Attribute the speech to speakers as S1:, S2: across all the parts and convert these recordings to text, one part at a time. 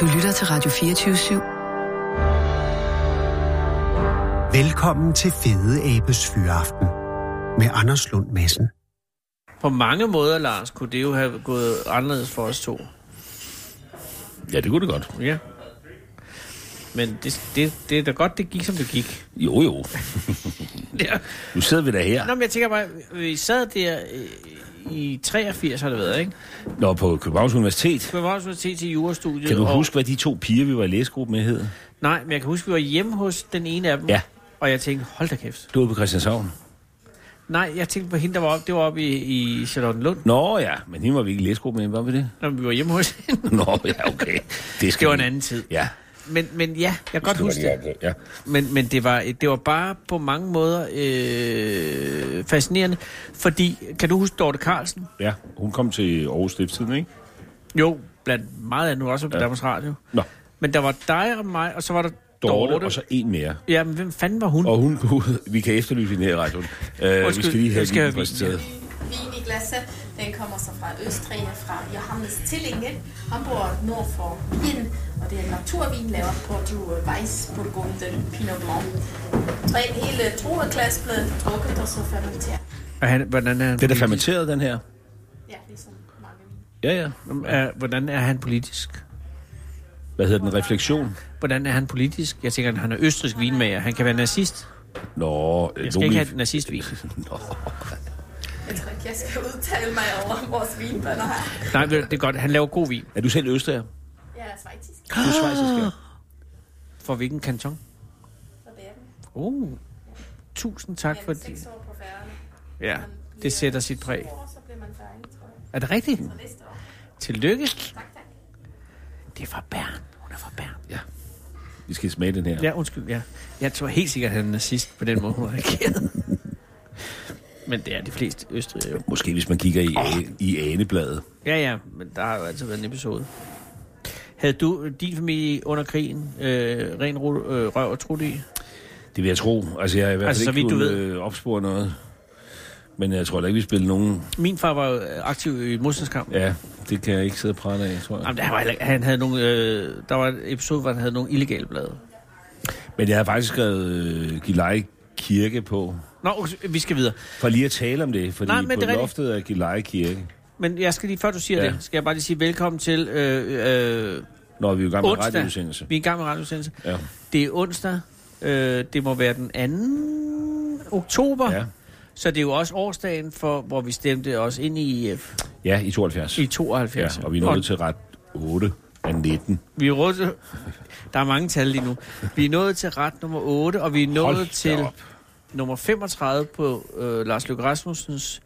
S1: Du lytter til Radio 24-7.
S2: Velkommen til Fede Abes Fyraften med Anders Lund Madsen.
S3: På mange måder, Lars, kunne det jo have gået anderledes for os to.
S4: Ja, det kunne det godt.
S3: Ja. Men det, det, det er da godt, det gik, som det gik.
S4: Jo, jo.
S3: Ja.
S4: Nu sidder vi da
S3: Nå,
S4: her.
S3: men jeg tænker bare, vi sad der øh, i 83, har det været, ikke?
S4: Nå, på Københavns Universitet.
S3: På Københavns Universitet til jurastudiet.
S4: Kan du
S3: og-
S4: huske, hvad de to piger, vi var i læsegruppe med, hed?
S3: Nej, men jeg kan huske, vi var hjemme hos den ene af dem.
S4: Ja.
S3: Og jeg tænkte, hold da kæft.
S4: Du var på Christianshavn.
S3: Nej, jeg tænkte på hende, der var oppe. Det var oppe i, i Charlottenlund,
S4: Nå ja, men hende var vi ikke i læsegruppe med, var vi det?
S3: når vi var hjemme hos hende.
S4: Nå ja, okay. Det, skal
S3: Det var en
S4: vi-
S3: anden tid.
S4: Ja.
S3: Men, men ja, jeg kan godt huske det.
S4: det. Ja.
S3: Men, men det, var, det var bare på mange måder øh, fascinerende, fordi, kan du huske Dorte Carlsen?
S4: ja, hun kom til Aarhus Stiftstiden, ikke?
S3: Jo, blandt meget andet også på ja. Danmarks Radio.
S4: Nå,
S3: Men der var dig og mig, og så var der
S4: Dorte,
S3: Dorte.
S4: Dorte. og så en mere.
S3: Ja, men hvem fanden var hun?
S4: Og hun kunne... Vi kan efterlyse hende her i radioen. Uh, vi
S3: Undskyld,
S4: skal lige have
S3: jeg skal
S4: hende
S3: have vin,
S4: præsenteret.
S5: Vin i glasset, den kommer så fra Østrig, fra Johannes Tillingen. Han bor nord for Wien, og det er en naturvin lavet på du Weiss, Burgunden, Pinot Blanc. Så en hel troerklasse blev drukket og så fermenteret.
S3: Og han, hvordan er han
S4: Den er
S3: politisk?
S4: fermenteret, den her.
S5: Ja, ligesom mange vin.
S4: Ja, ja.
S3: Er, hvordan er han politisk?
S4: Hvad hedder den? Refleksion?
S3: Hvordan er han politisk? Jeg tænker, at han er østrisk vinmager. Han kan være nazist.
S4: Nå, øh,
S3: Jeg skal
S4: nogen
S3: ikke
S4: vil-
S3: have et nazistvin.
S4: Nå,
S5: Jeg tror ikke, jeg skal udtale mig over vores vinbønder her.
S3: Nej, ved du, det er godt. Han laver god vin.
S4: er du selv østager?
S5: Jeg er svejtisk,
S4: Du
S3: Ah.
S4: er svejsisk, ja.
S3: For hvilken kanton?
S5: så det er den.
S3: Oh, tusind tak for
S5: Men
S3: det.
S5: seks år på færgerne.
S3: Ja, det sætter sit præg.
S5: To år, så bliver man færdig, tror jeg.
S3: Er det rigtigt?
S5: Og næste år.
S3: Tillykke.
S5: Tak, tak.
S3: Det er fra Bern. Hun er fra Bern.
S4: Ja. Vi skal smage den her.
S3: Ja, undskyld, ja. Jeg tror helt sikkert, at han er nazist på den måde, hun har reageret. Men det er de fleste østrigere jo.
S4: Måske hvis man kigger i, oh. i anebladet.
S3: Ja, ja, men der har jo altid været en episode. Havde du øh, din familie under krigen øh, ren ru- øh, røv og trut i?
S4: Det vil jeg tro. Altså, jeg har i hvert
S3: Altså,
S4: fald
S3: så
S4: altså, ikke
S3: vidt du
S4: kunnet
S3: ved.
S4: øh, opspore noget. Men jeg tror da ikke, vi spillede nogen...
S3: Min far var jo øh, aktiv i modstandskampen. Ja.
S4: Ja, det kan jeg ikke sidde og prale af, tror jeg.
S3: Jamen, der var, heller ikke- han havde nogle, øh, der var en episode, hvor han havde nogle illegale blade.
S4: Men jeg har faktisk skrevet øh, Gilleleje Kirke på.
S3: Nå, okay, vi skal videre.
S4: For lige at tale om det, fordi
S3: Nej, men
S4: Nej, på
S3: det er
S4: det
S3: rigtigt.
S4: loftet er Gilleleje Kirke.
S3: Men jeg skal lige, før du siger ja.
S4: Ja.
S3: det, skal jeg bare lige sige velkommen til øh, øh,
S4: Når vi er jo i gang med
S3: onsdag.
S4: radioudsendelse.
S3: Vi er i gang med radioudsendelse.
S4: Ja.
S3: Det er onsdag. Øh, det må være den 2. oktober.
S4: Ja.
S3: Så det er jo også årsdagen, for, hvor vi stemte os ind i, øh,
S4: ja, i 72.
S3: i 72.
S4: ja, og vi er nået til ret 8 af 19.
S3: Vi er råd til, der er mange tal lige nu. Vi er nået til ret nummer 8, og vi er nået
S4: Hold da
S3: til
S4: op.
S3: nummer 35 på øh, Lars Løkke Rasmussens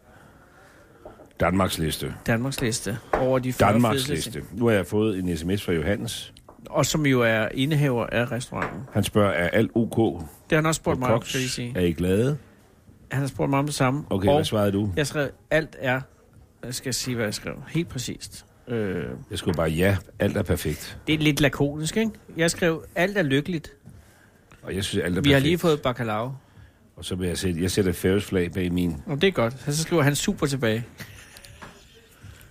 S4: Danmarks liste.
S3: Danmarks liste over de 40
S4: Danmarks
S3: fedeste ting.
S4: liste. Nu har jeg fået en sms fra Johannes.
S3: Og som jo er indehaver af restauranten.
S4: Han spørger, er alt OK
S3: Det har han også
S4: på
S3: spurgt mig om,
S4: Cox?
S3: skal jeg lige sige.
S4: Er I glade?
S3: Han har spurgt mig om det samme.
S4: Okay,
S3: og
S4: hvad svarede du?
S3: Jeg skrev, alt er... Jeg skal sige, hvad jeg skrev. Helt præcist. Øh,
S4: Jeg skulle bare, ja, alt er perfekt.
S3: det er lidt lakonisk, ikke? Jeg skrev, alt er lykkeligt. Perfekt.
S4: Og jeg synes, alt er
S3: Vi har
S4: perfekt.
S3: lige fået bacalao.
S4: Og så vil jeg sætte, jeg sætter Færøs flag bag min.
S3: Nå, det er godt. Så skriver han super tilbage.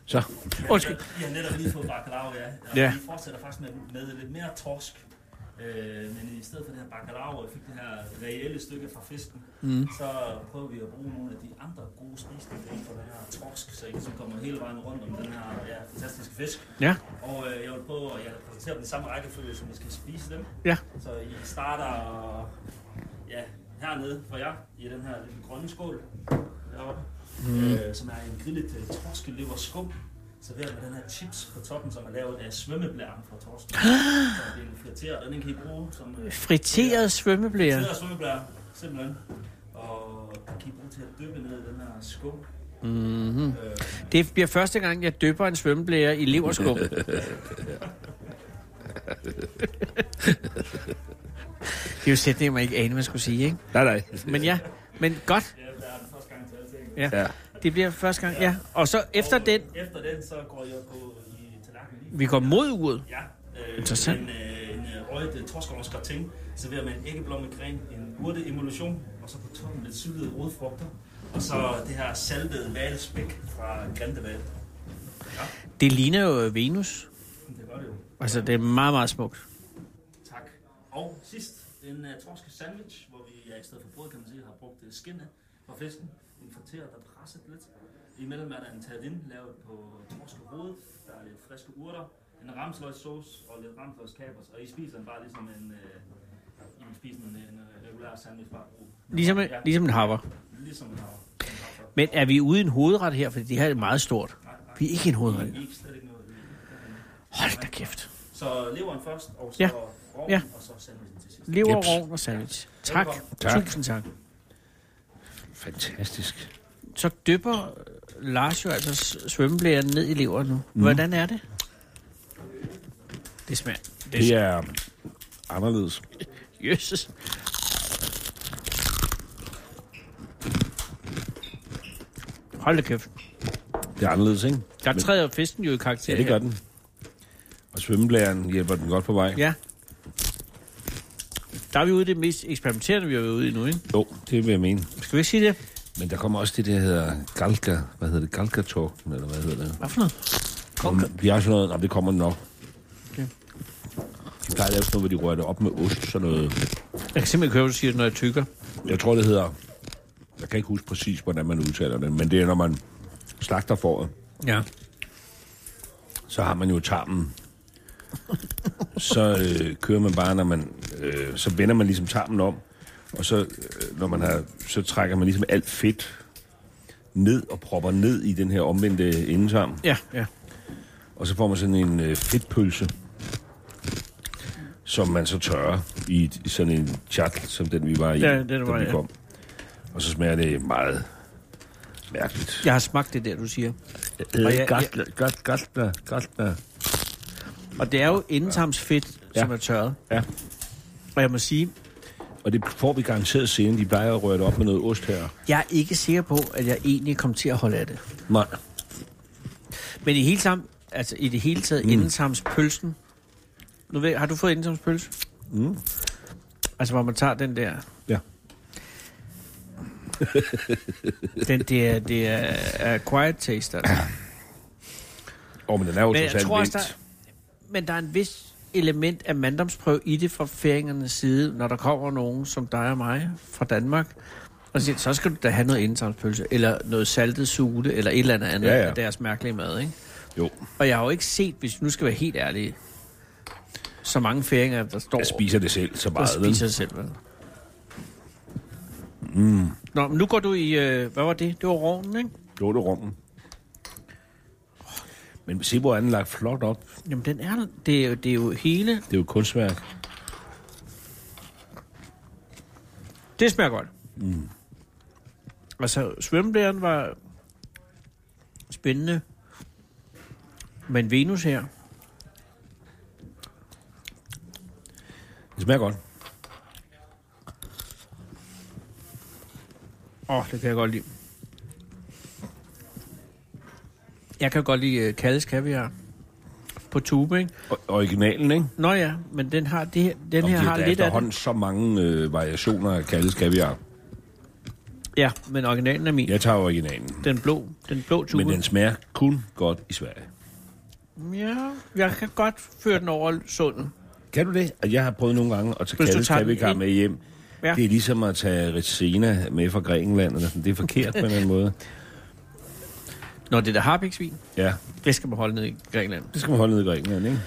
S4: Så,
S3: Undskyld.
S6: Vi har netop lige fået bacalao, ja. Og
S3: Ja.
S6: ja. vi fortsætter faktisk med, med lidt mere torsk. Øh, men i stedet for det her bacalao, og vi fik det her reelle stykke fra fisken, mm. så prøver vi at bruge nogle af de andre gode spisninger inden for den her torsk, så I ligesom kommer hele vejen rundt om den her ja, fantastiske fisk.
S3: Ja,
S6: Og øh, jeg vil prøve at jeg vil præsentere dem i samme rækkefølge, som vi skal spise dem.
S3: ja.
S6: Så I starter ja, hernede for jer i den her lille grønne skål, deroppe, mm. øh, som er en grillet uh, torskelever skum, serveret med den her chips på toppen, som er lavet af svømmeblæren fra torsken.
S3: Ah!
S6: Så det er en friteret, og den kan I bruge som øh,
S3: Friteret svømmeblære.
S6: friteret svømmeblære, simpelthen. Og den kan I bruge til at dyppe ned i den her Øh, skum.
S4: Mm-hmm.
S3: Det bliver første gang, jeg døber en svømmeblære i leverskum. det er jo sætninger, man ikke aner, man skulle sige, ikke?
S4: nej, nej.
S3: Men ja, men godt.
S6: Ja, det er den første gang til alting.
S3: Ja.
S4: Ja.
S3: Det bliver første gang, ja. Og så efter
S6: Og
S3: den,
S6: Efter den, så går jeg på i tallerkenen lige
S3: vi går mod uret.
S6: Ja, øh,
S3: Interessant.
S6: En, øh, en øh, røget øh, torskovers gratin, serveret med en æggeblommegren, en urte emulsion, og så på toppen lidt syltede rodfrugter, og så det her saltede valspæk fra Grindehval.
S3: Det ligner jo Venus.
S6: luften, det gør det jo.
S3: Altså, det er meget, meget smukt.
S6: Tak. Og sidst, en uh, torske sandwich, hvor vi ja, i stedet for brød, kan man sige, har brugt uh, skinnet fra fisken. En forteret, der presset lidt. Imellem er der en tagine lavet på torskehovedet. Der er lidt friske urter, en ramsløgssauce og lidt ramsløgskabers. Og I spiser den bare ligesom en... Uh, I vil spise en, en øh, regulær sandwich bare brug.
S3: Ligesom,
S6: ja,
S3: ligesom en haver.
S6: ligesom en hav. En havfrø.
S3: Men er vi ude i en hovedret her? Fordi det her er meget stort. Vi er ikke i en hovedret.
S6: I- I er ikke slet ikke noget. i- derinde.
S3: Hold da kæft.
S6: Så leveren først, og så
S3: Ja.
S6: ja. roven,
S3: Ja.
S6: ja. og så sandwichen til sidst.
S3: Lever,
S4: Jeps.
S3: rovn og sandwich. Tak.
S4: Tak.
S3: Tusind tak.
S4: Fantastisk.
S3: Så dypper Lars jo altså s- svømmeblæren ned i leveren nu.
S4: Mhm.
S3: Hvordan er det? Det smager.
S4: Det er anderledes.
S3: Jesus. Hold da kæft.
S4: Det er anderledes, ikke?
S3: Der
S4: Men-
S3: træder fisken jo i karakter.
S4: Ja, det gør
S3: her.
S4: den. Og svømmeblæren hjælper den godt på vej.
S3: Ja. Der er vi ude i det mest eksperimenterende, vi har været ude i nu, ikke?
S4: Jo, det vil jeg mene.
S3: Skal vi ikke sige det?
S4: Men der kommer også det, der hedder galga. Hvad hedder det? Galgatorken, eller hvad hedder det?
S3: Hvad for noget? Galga.
S4: Om, vi har sådan noget, om det kommer nok.
S3: Okay.
S4: De plejer at lave sådan noget, hvor de rører det op med ost, sådan noget.
S3: Jeg kan simpelthen køre, hvad du siger, når jeg tykker.
S4: Jeg tror, det hedder... Jeg kan ikke huske præcis, hvordan man udtaler det, men det er, når man slagter fåret,
S3: Ja.
S4: så har man jo tarmen. Så øh, kører man bare, når man... Øh, så vender man ligesom tarmen om, og så, øh, når man har, så trækker man ligesom alt fedt ned og propper ned i den her omvendte endetarm.
S3: Ja, ja.
S4: Og så får man sådan en øh, fedtpølse, som man så tørrer i, et- i sådan en chat, som den vi var i,
S3: Ja, den
S4: da
S3: var,
S4: vi
S3: ja.
S4: kom. Og så smager det meget mærkeligt.
S3: Jeg har smagt det der, du siger. Og ja,
S4: Øh, Gastler, gast- gastler, gastler.
S3: Og det er jo endetarmsfedt, ja.
S4: Ja.
S3: som er tørret.
S4: Ja,
S3: Og jeg må sige,
S4: og det får vi garanteret senere. De plejer at røre det op med noget ost her.
S3: jeg er ikke sikker på, at jeg egentlig kom til at holde af det.
S4: Nej.
S3: Men i hele sammen, altså i det hele taget, mm. endetarmspølsen. Nu ved, har du fået endetarmspølse? Mm. Altså, hvor man tager den der.
S4: Ja.
S3: Den, det er, det er, er quiet taste, altså.
S4: Åh, men den er jo
S3: Men jeg
S4: trods alt
S3: tror også,
S4: vildt.
S3: der, men der er en vis element af manddomsprøve i det fra færingernes side, når der kommer nogen som dig og mig fra Danmark, og siger, så skal du da have noget indsamspølse, eller noget saltet sule, eller et eller andet andet
S4: Ja, ja.
S3: af deres mærkelige mad, ikke?
S4: Jo,
S3: Og jeg har jo ikke set, hvis vi nu skal være helt ærlige, så mange færinger, der står
S4: jeg spiser det selv så
S3: og
S4: meget. vel?
S3: spiser selv. Vel? Mm.
S4: Mm.
S3: Nå, men nu går du i, øh, hvad var det? Det var rovnen, ikke?
S4: Lorterummen. Men se, hvor er den lagt flot op.
S3: Jamen, den er, det er, jo, det er jo hele.
S4: Det er jo et kunstværk.
S3: Det smager godt. Mm. Altså, svømmeblæren var spændende. Men Venus her,
S4: Det smager godt.
S3: åh, oh, det kan jeg godt lide. Jeg kan godt lide øh, Kalles kaviar på tube, ikke?
S4: O- originalen, ikke?
S3: Nå ja, men den har det her, den her
S4: de-
S3: har
S4: der
S3: lidt
S4: er
S3: af den.
S4: efterhånden så mange øh, variationer af kaldes kaviar.
S3: Ja, men originalen er min. Ja.
S4: Jeg tager originalen.
S3: Den blå, den blå tube.
S4: Men den smager kun godt i Sverige.
S3: Ja, jeg kan godt føre den over sundet.
S4: Kan du det? Og Jeg har prøvet nogle gange at tage
S3: Hvis du
S4: kaldes
S3: tager den
S4: kaviar
S3: ind-
S4: med hjem.
S3: Ja.
S4: Ja. Det er ligesom at tage Retsena med fra Grækenland. Eller sådan. Det er forkert på en eller anden måde.
S3: Når det er der harpiksvin,
S4: Ja,
S3: det skal man holde ned i Grækenland.
S4: det skal man holde ned i Grækenland, ikke?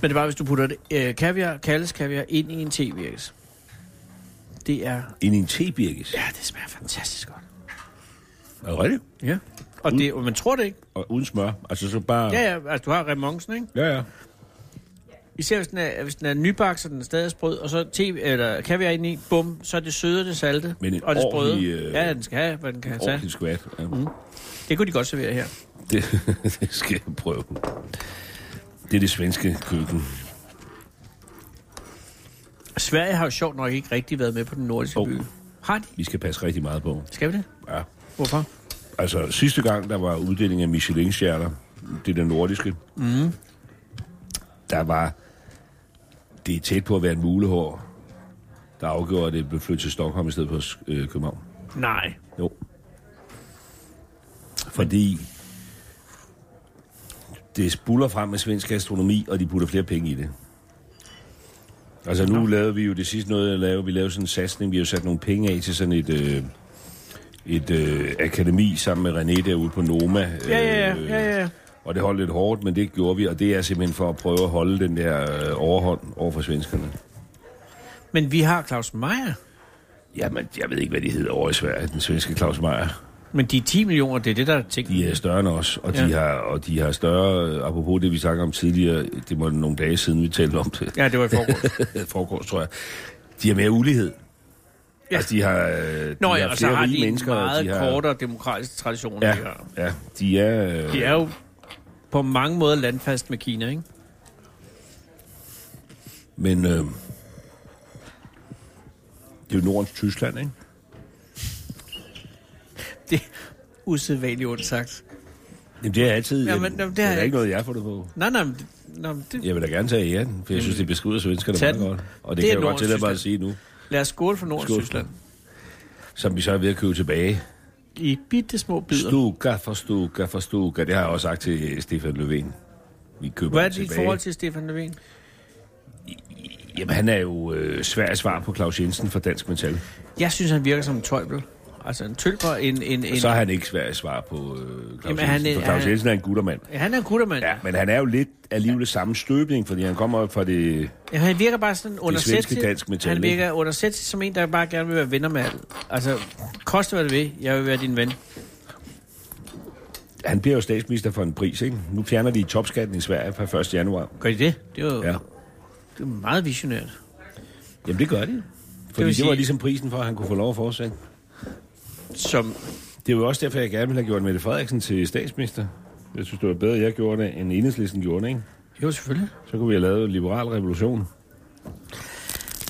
S3: Men det er bare, hvis du putter det, øh, kaviar, kaldes kaviar ind i en tevirkes. Det er...
S4: Ind i en tebirkes.
S3: Ja, det smager fantastisk godt.
S4: Er det rigtigt?
S3: Ja. Og
S4: Mm.
S3: det, og man tror det ikke.
S4: Og uden smør. Altså så bare...
S3: Ja, ja, altså du har remonsen, ikke?
S4: ja. ja.
S3: Især hvis den er, hvis den er nybagt, så den er stadig sprød, og så te, eller kaviar ind i, bum, så er det søde, det salte,
S4: Men en
S3: og det sprøde.
S4: ordentlig, øh,
S3: Ja, den skal have, hvad den kan have.
S4: Ordentlig skvat. Ja. Mm.
S3: Det kunne de godt servere her.
S4: Det, det skal jeg prøve. Det er det svenske køkken.
S3: Sverige har jo sjovt nok ikke rigtig været med på den nordiske
S4: Jo.
S3: by. Har de?
S4: Vi skal passe rigtig meget på.
S3: Skal vi det?
S4: Ja.
S3: Hvorfor?
S4: Altså, sidste gang, der var uddeling af Michelin-stjerner, det er den nordiske, mm. der var det er tæt på at være en mulehår, der afgjorde, at det blev flyttet til Stockholm i stedet for øh, København.
S3: Nej.
S4: Jo. Fordi det spuller frem med svensk gastronomi, og de putter flere penge i det. Altså nu lavede vi jo det sidste noget, jeg lavede, vi lavede sådan en satsning, vi har jo sat nogle penge af til sådan et, øh, et øh, akademi sammen med René derude på Noma.
S3: Ja, ja,
S4: øh,
S3: ja, ja, ja.
S4: Og det holdt lidt hårdt, men det gjorde vi, og det er simpelthen for at prøve at holde den der øh, overhånd over for svenskerne.
S3: Men vi har Claus Meier.
S4: Jamen, jeg ved ikke, hvad de hedder over i Sverige, den svenske Claus Meier.
S3: Men de 10 millioner, det er det, der er ting.
S4: De er større end os, og, ja.
S3: Ja.
S4: de har, og de har større, øh, apropos det, vi snakkede om tidligere, det var nogle dage siden, vi talte om det,
S3: Ja, det var i forgårs.
S4: forgårs, tror jeg. De har mere ulighed. Ja.
S3: Ja.
S4: Altså, de har, øh,
S3: Nå
S4: de
S3: ja,
S4: har
S3: og så
S4: flere
S3: har
S4: rige
S3: de en
S4: mennesker, og
S3: meget
S4: de
S3: de
S4: har,
S3: kortere demokratiske traditioner.
S4: Ja,
S3: de har.
S4: ja, de er... Øh,
S3: De er jo på mange måder landfast med Kina, ikke?
S4: Men øh, det er jo Nordens Tyskland, ikke?
S3: Det er usædvanligt ondt sagt.
S4: Jamen, det er altid...
S3: Jamen,
S4: øh,
S3: jamen, det
S4: det
S3: har
S4: er da
S3: jeg-
S4: ikke noget, jeg har fundet på.
S3: Nej, nej, men det, nej, men det,
S4: Jeg vil da gerne tage æren, for jeg synes, det beskriver svenskerne
S3: Mm. Tag
S4: meget
S3: den.
S4: godt.
S3: Det
S4: Og det, det
S3: er
S4: kan jeg godt
S3: Nordens
S4: tillade mig at sige
S3: Tyskland.
S4: nu,
S3: lad os skåle for
S4: Skål.
S3: Nordtyskland.
S4: som vi så er ved at købe tilbage.
S3: I bitte små bidder.
S4: Stuka for stuka for stuka. Det har jeg også sagt til øh, Stefan Löfven. Vi køber
S3: Hvad er
S4: ham
S3: dit
S4: tilbage.
S3: forhold til Stefan Löfven?
S4: Jamen, han er jo øh, svær svar på Claus Jensen fra Dansk Metal.
S3: Jeg synes, han virker som en tøjbel. Altså en tølper, en... en, en
S4: Så er han ikke svær at svare på øh, Claus
S3: Jamen,
S4: Jensen.
S3: han
S4: Han,
S3: er-
S4: for Claus
S3: han-
S4: Jensen er en guttermand.
S3: han er en guttermand.
S4: Ja,
S3: Ja.
S4: men han er jo lidt alligevel samme støbning, fordi han kommer fra det...
S3: Han virker bare sådan undersættig.
S4: svenske dansk metal,
S3: Han
S4: ikke?
S3: virker undersættig som en, der bare gerne vil være venner med alle. Altså, koste hvad det vil, jeg vil være din ven.
S4: Han bliver jo statsminister for en pris, ikke? Nu fjerner de topskatten i Sverige fra 1. januar.
S3: Gør de det? Det er jo
S4: Ja.
S3: ja. det er meget visionært.
S4: Jamen, det gør de. Fordi
S3: vil
S4: det, det var
S3: sige-
S4: ligesom prisen for, at han kunne få lov at fortsætte.
S3: Som
S4: Det er jo også derfor, jeg gerne ville have gjort Mette Frederiksen til statsminister. Jeg synes, det var bedre, at jeg gjorde det, end Enhedslisten gjorde det, ikke?
S3: Jo, selvfølgelig.
S4: Så kunne vi have lavet en liberal revolution.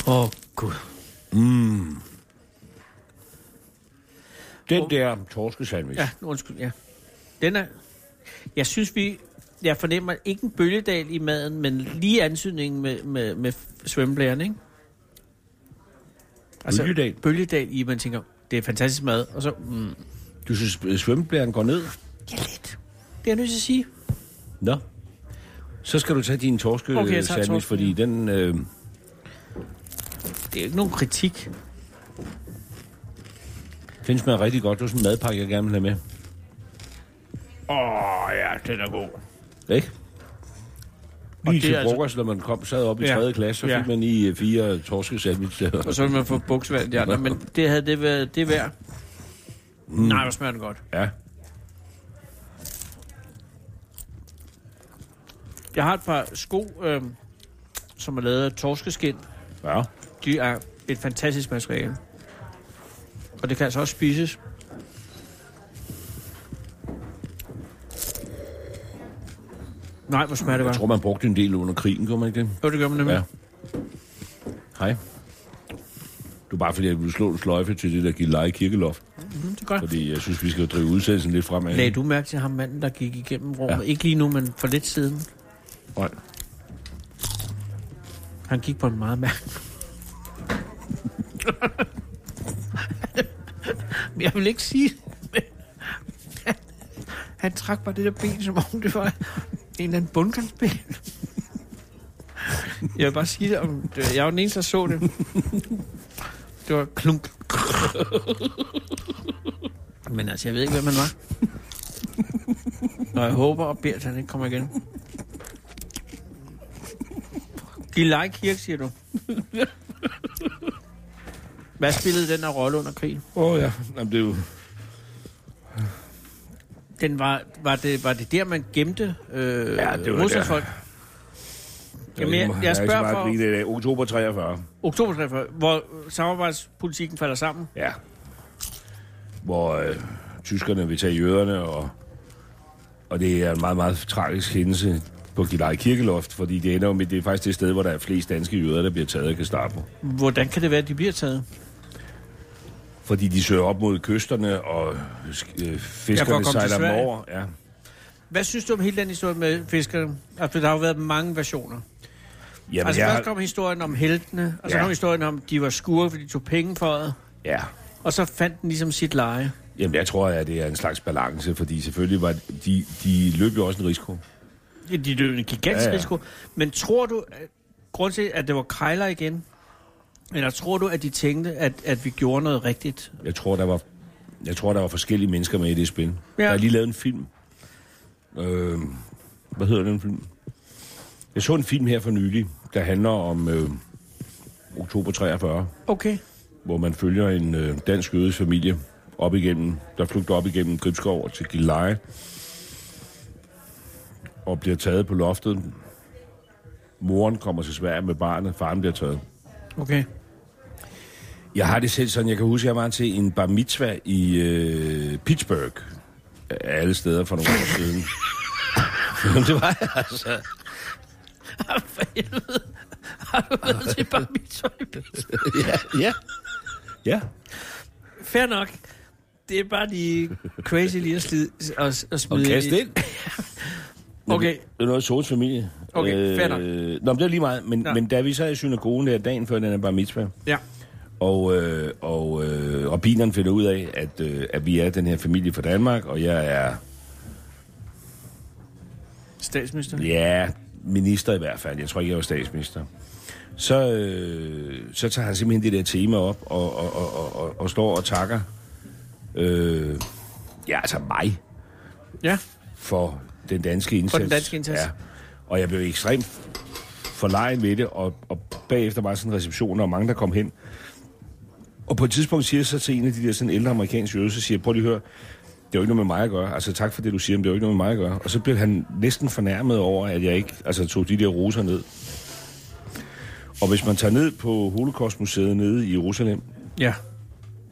S3: Åh, oh, gud.
S4: Den der torskesandwich.
S3: Ja,
S4: Ja.
S3: undskyld, ja. Den er... Jeg synes, vi... Jeg fornemmer ikke en bølgedal i maden, men lige ansynningen med, med, med svømmeblæren, ikke? Altså,
S4: Bølgedal?
S3: Bølgedal i, at man tænker, det er fantastisk mad, og så... Mm,
S4: Du synes, øh, svømmeblæren går ned?
S3: ja, lidt. Det er jeg nødt til at sige.
S4: Nå. Så skal du tage din
S3: Okay, jeg
S4: torskesandwich,
S3: tager
S4: okay,
S3: torsken,
S4: fordi den... Øh,
S3: Det er ikke nogen kritik.
S4: Den smager rigtig godt. Det er sådan en madpakke, jeg gerne vil have med. Åh, oh, ja, den er god. Ikke?
S3: Og
S4: Lige
S3: det
S4: til
S3: er altså-
S4: frokost, når man kom, sad op i
S3: Ja.
S4: 3. klasse, så fik
S3: Ja.
S4: man lige øh, fire torske sandwich.
S3: Og så vil man få buksvand, de andre, men det havde det været det værd. Mm. Nej, hvor smager den godt.
S4: ja.
S3: Jeg har et par sko, øh, som er lavet af torskeskin.
S4: ja.
S3: De er et fantastisk materiale. Og det kan altså også spises. Nej, hvor smager det
S4: Jeg
S3: godt.
S4: tror, man brugte en del under krigen, kunne man ikke det?
S3: Jo, det gør man nemlig.
S4: Ja. Hej. Du er bare fordi, jeg ville slå en sløjfe til det der Gilleleje Kirkeloft,
S3: Mm, det er godt.
S4: fordi jeg synes, vi skal drive udsendelsen lidt fremad.
S3: Lagde du mærke til ham manden, der gik igennem rummet?
S4: Ja.
S3: Ja. Ikke lige nu, men for lidt siden.
S4: Nej.
S3: Han gik på en meget mærkelig... Men jeg vil ikke sige... det, men Han, han trak bare det der ben, som om det var en eller anden bundgangsben. Jeg vil bare sige det, om det- jeg var den eneste, der så det. Det var klunk. Men altså, jeg ved ikke, hvem han var. Og jeg håber og beder, at han ikke kommer igen. Giv like kirke, siger du. Hvad spillede den her rolle under krigen?
S4: Åh oh, ja, Jamen, det er jo...
S3: Den var, var, det, var det der, man gemte øh,
S4: Ja, det var
S3: modstandsfolk? Jamen, jeg, jeg spørger for
S4: for... Oktober 43.
S3: oktober 43, hvor samarbejdspolitikken falder sammen.
S4: Ja. Hvor øh, tyskerne vil tage jøderne, og, og det er en meget, meget tragisk hændelse på Gilleleje Kirkeloft, fordi det ender jo med, det er faktisk det sted, hvor der er flest danske jøder, der bliver taget af Gestapo.
S3: Hvordan kan det være, at de bliver taget?
S4: Fordi de søger op mod kysterne, og øh,
S3: Ja, for
S4: fiskerne
S3: at komme til
S4: sejler dem
S3: Sverige.
S4: over. Ja.
S3: Hvad synes du om hele den historie med fiskerne? Altså, der har jo været mange versioner.
S4: Jamen,
S3: altså,
S4: jeg
S3: først
S4: har-
S3: kom historien om heltene, og så
S4: Ja.
S3: kom historien om, at de var skurke, fordi de tog penge for det,
S4: ja.
S3: og så fandt den ligesom sit leje.
S4: Jamen, jeg tror, at det er en slags balance, fordi selvfølgelig var de, de løb jo også en risiko.
S3: Ja, De løb en gigantisk
S4: Ja,
S3: ja,
S4: ja.
S3: ja. risiko. Men tror du, at- grund til, at det var krejler igen, eller tror du, at de tænkte, at, at vi gjorde noget rigtigt?
S4: Jeg tror, der var, jeg tror, der var forskellige mennesker med i det spil. Ja.
S3: Ja.
S4: Der er lige lavet en film. Øh, hvad hedder den film? Jeg så en film her for nylig, der handler om øh, oktober 43,
S3: Okay.
S4: hvor man følger en øh, dansk jødisk familie op igennem, der flugter op igennem Gribskov og til Gilleleje, og bliver taget på loftet. Moren kommer til Sverige med barnet, faren bliver taget.
S3: Okay.
S4: Jeg har det selv sådan, jeg kan huske, jeg var til en bar mitzvah i øh, Pittsburgh. Af alle steder for nogle år siden. Jamen, det var jeg altså.
S3: For helvede. Har du været til bare mit tøj?
S4: Ja. Ja.
S3: Fair nok. Det er bare lige crazy lige at, slide, at, at
S4: Og
S3: smide
S4: kast ind.
S3: Okay.
S4: Det er noget af Sols familie.
S3: Okay, fair nok.
S4: Øh, nå, men det er lige meget. Men,
S3: Nå.
S4: men da vi så er i synagogen der dagen før den her bar mitzvah,
S3: Ja.
S4: Og, øh, og, øh, og bilerne finder ud af, at, øh, at vi er den her familie fra Danmark, og jeg er,
S3: Statsminister.
S4: ja, minister i hvert fald. Jeg tror ikke, jeg var statsminister. Så, øh, så tager han simpelthen det der tema op og, og, og, og, og, og står og takker øh, ja, altså mig
S3: Ja.
S4: for den danske indsats.
S3: For den danske indsats.
S4: Ja. Og jeg blev ekstremt forlegen ved det, og, og bagefter var sådan en reception, og mange, der kom hen. Og på et tidspunkt siger jeg så til en af de der sådan ældre amerikanske jøder, så siger jeg, prøv lige at høre, det er jo ikke noget med mig at gøre. Altså tak for det, du siger, men det er jo ikke noget med mig at gøre. Og så blev han næsten fornærmet over, at jeg ikke altså, tog de der roser ned. Og hvis man tager ned på Holocaustmuseet nede i Jerusalem,
S3: Ja.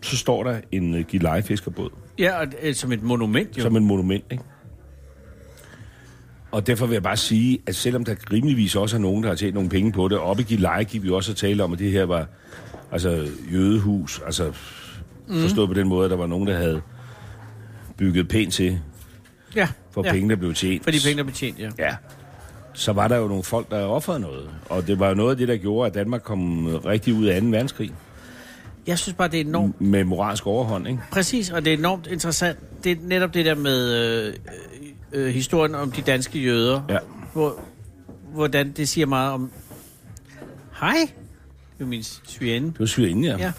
S4: så står der en uh, gilejefiskerbåd
S3: Ja, og, øh, som et monument jo.
S4: som en monument, ikke? Og derfor vil jeg bare sige, at selvom der rimeligvis også er nogen, der har tjent nogle penge på det, og oppe i Gilleleje gik vi også at tale om, at det her var altså jødehus, altså
S3: Mm.
S4: forstået på den måde, at der var nogen, der havde bygget pænt til
S3: ja.
S4: for
S3: ja.
S4: ja. penge, der blev tjent.
S3: For de penge, der blev tjent, ja.
S4: Ja. Så var der jo nogle folk, der offrede noget. Og det var jo noget af det, der gjorde, at Danmark kom rigtig ud af 2. verdenskrig.
S3: Jeg synes bare, det er enormt
S4: Med moralsk overhånd, ikke?
S3: Præcis, og det er enormt interessant. Det er netop det der med øh, øh, historien om de danske jøder.
S4: Ja.
S3: Hvor, hvordan det siger meget om... Hej, det er min svigerinde.
S4: Det var Syrien, ja.
S3: Ja.
S4: ja.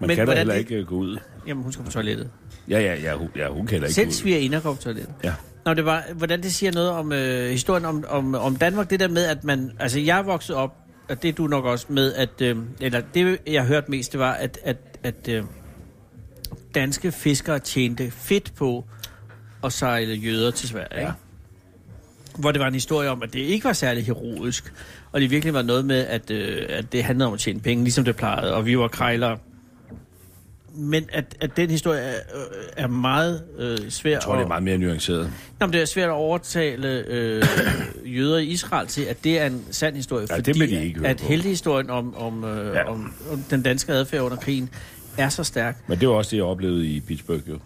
S4: Man
S3: Men
S4: kan da
S3: hvordan
S4: heller
S3: det-
S4: ikke øh, gå ud.
S3: Jamen, hun skal på toilettet.
S4: Ja, ja, ja, hun, ja, hun kan heller ikke gå
S3: Selv
S4: ud.
S3: svigerinder går på toilettet.
S4: Ja.
S3: Nå, det var, hvordan det siger noget om øh, historien om, om, om Danmark, det der med, at man... Altså, jeg er vokset op, og det er du nok også med, at... Øh, eller det, jeg hørte mest, det var, at, at, at øh, danske fiskere tjente fedt på at sejle jøder til Sverige. Ja. Hvor det var en historie om, at det ikke var særlig heroisk, og det virkelig var noget med, at, øh, at det handlede om at tjene penge, ligesom det plejede, og vi var krejlere. Men at, at den historie er, øh, er meget øh, svær
S4: Jeg tror, det er meget mere nuanceret.
S3: Nå, men det er svært at overtale øh, jøder i Israel til, at det er en sand historie.
S4: Ja, det
S3: fordi
S4: vil de ikke høre
S3: At
S4: på.
S3: heltehistorien om, om, øh,
S4: Ja.
S3: ja. om, om den danske adfærd under krigen er så stærk.
S4: Men det var også det, jeg oplevede i Pittsburgh, jo.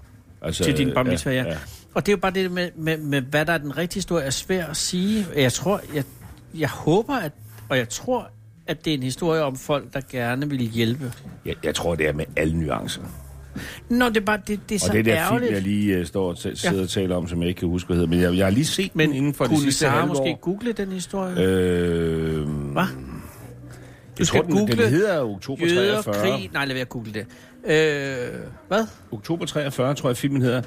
S4: Altså,
S3: Til din
S4: øh,
S3: bar mitzvah, ja. Og det er jo bare det med, med, med, hvad der er den rigtige historie, er svært at sige. Jeg tror, jeg, jeg håber, at, og jeg tror, at det er en historie om folk, der gerne vil hjælpe.
S4: Jeg, jeg tror, det er med alle nuancer. Og
S3: Nå, det er bare, det, det er så
S4: det der
S3: ærgerligt.
S4: film, jeg lige uh, står og t- sidder ja. og taler om, som jeg ikke kan huske, hvad hedder, men jeg, jeg har lige set
S3: men
S4: den inden for det
S3: kunne
S4: sidste
S3: Sara
S4: halve
S3: måske
S4: år.
S3: google den historie? Øh,
S4: Øh,
S3: Hvad? Du
S4: jeg tror, den, den hedder Oktober
S3: Jøder,
S4: 43.
S3: krig... Nej, lad være at google det. Øh, hvad?
S4: Oktober 43, tror jeg, filmen hedder.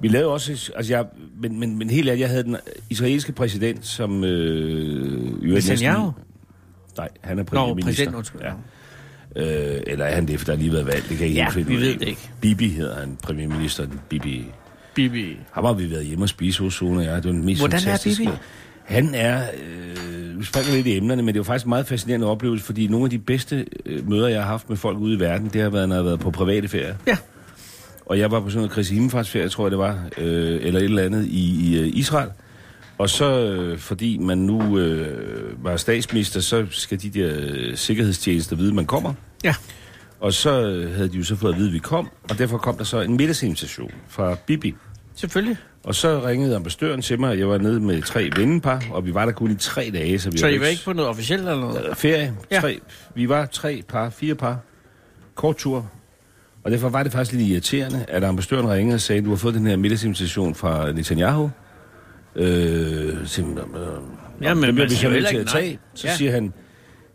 S4: Vi lavede også... Altså jeg, men, men, men helt ærligt, jeg havde den israelske præsident, som... Øh, jo,
S3: Netanyahu?
S4: Nej, han er
S3: Nå,
S4: premierminister.
S3: præsident, undskyld. Ja.
S4: Øh, eller er han det, for der har lige været valg? Det kan jeg ikke
S3: Ja,
S4: helt finde
S3: vi
S4: ud
S3: ved
S4: af.
S3: det ikke.
S4: Bibi hedder han, premierministeren. Bibi.
S3: Bibi.
S4: Ham har vi været hjemme og spise hos Sune og jeg. Det var den mest
S3: Hvordan er
S4: fantastiske.
S3: Bibi?
S4: Han er... Øh, vi springer lidt i emnerne, men det var faktisk en meget fascinerende oplevelse, fordi nogle af de bedste øh, møder, jeg har haft med folk ude i verden, det har været, når jeg har været på private ferier.
S3: Ja.
S4: Og jeg var på sådan noget Kristi Himmelfartsferie, tror jeg det var, øh, eller et eller andet i, i øh, Israel. Og så, øh, fordi man nu øh, var statsminister, så skal de der øh, sikkerhedstjenester vide, at man kommer.
S3: Ja.
S4: Og så øh, havde de jo så fået at vide, at vi kom, og derfor kom der så en middagsinvitation fra Bibi.
S3: Selvfølgelig.
S4: Og så ringede ambassadøren til mig, og jeg var nede med tre vennepar, og vi var der kun i tre dage, så vi
S3: Så
S4: var
S3: I var ikke på noget officielt eller noget?
S4: øh, ferie.
S3: Ja.
S4: Tre, vi var tre par, fire par, kort tur. Og derfor var det faktisk lidt irriterende, at ambassadøren ringede og sagde, du har fået den her middagsinvitation fra Netanyahu. Øh, til, øh, ja,
S3: men
S4: men det
S3: man
S4: bliver vi
S3: siger
S4: så
S3: jo
S4: nødt
S3: heller
S4: til at
S3: ikke nej.
S4: tage. Så
S3: Ja.
S4: ja. siger han,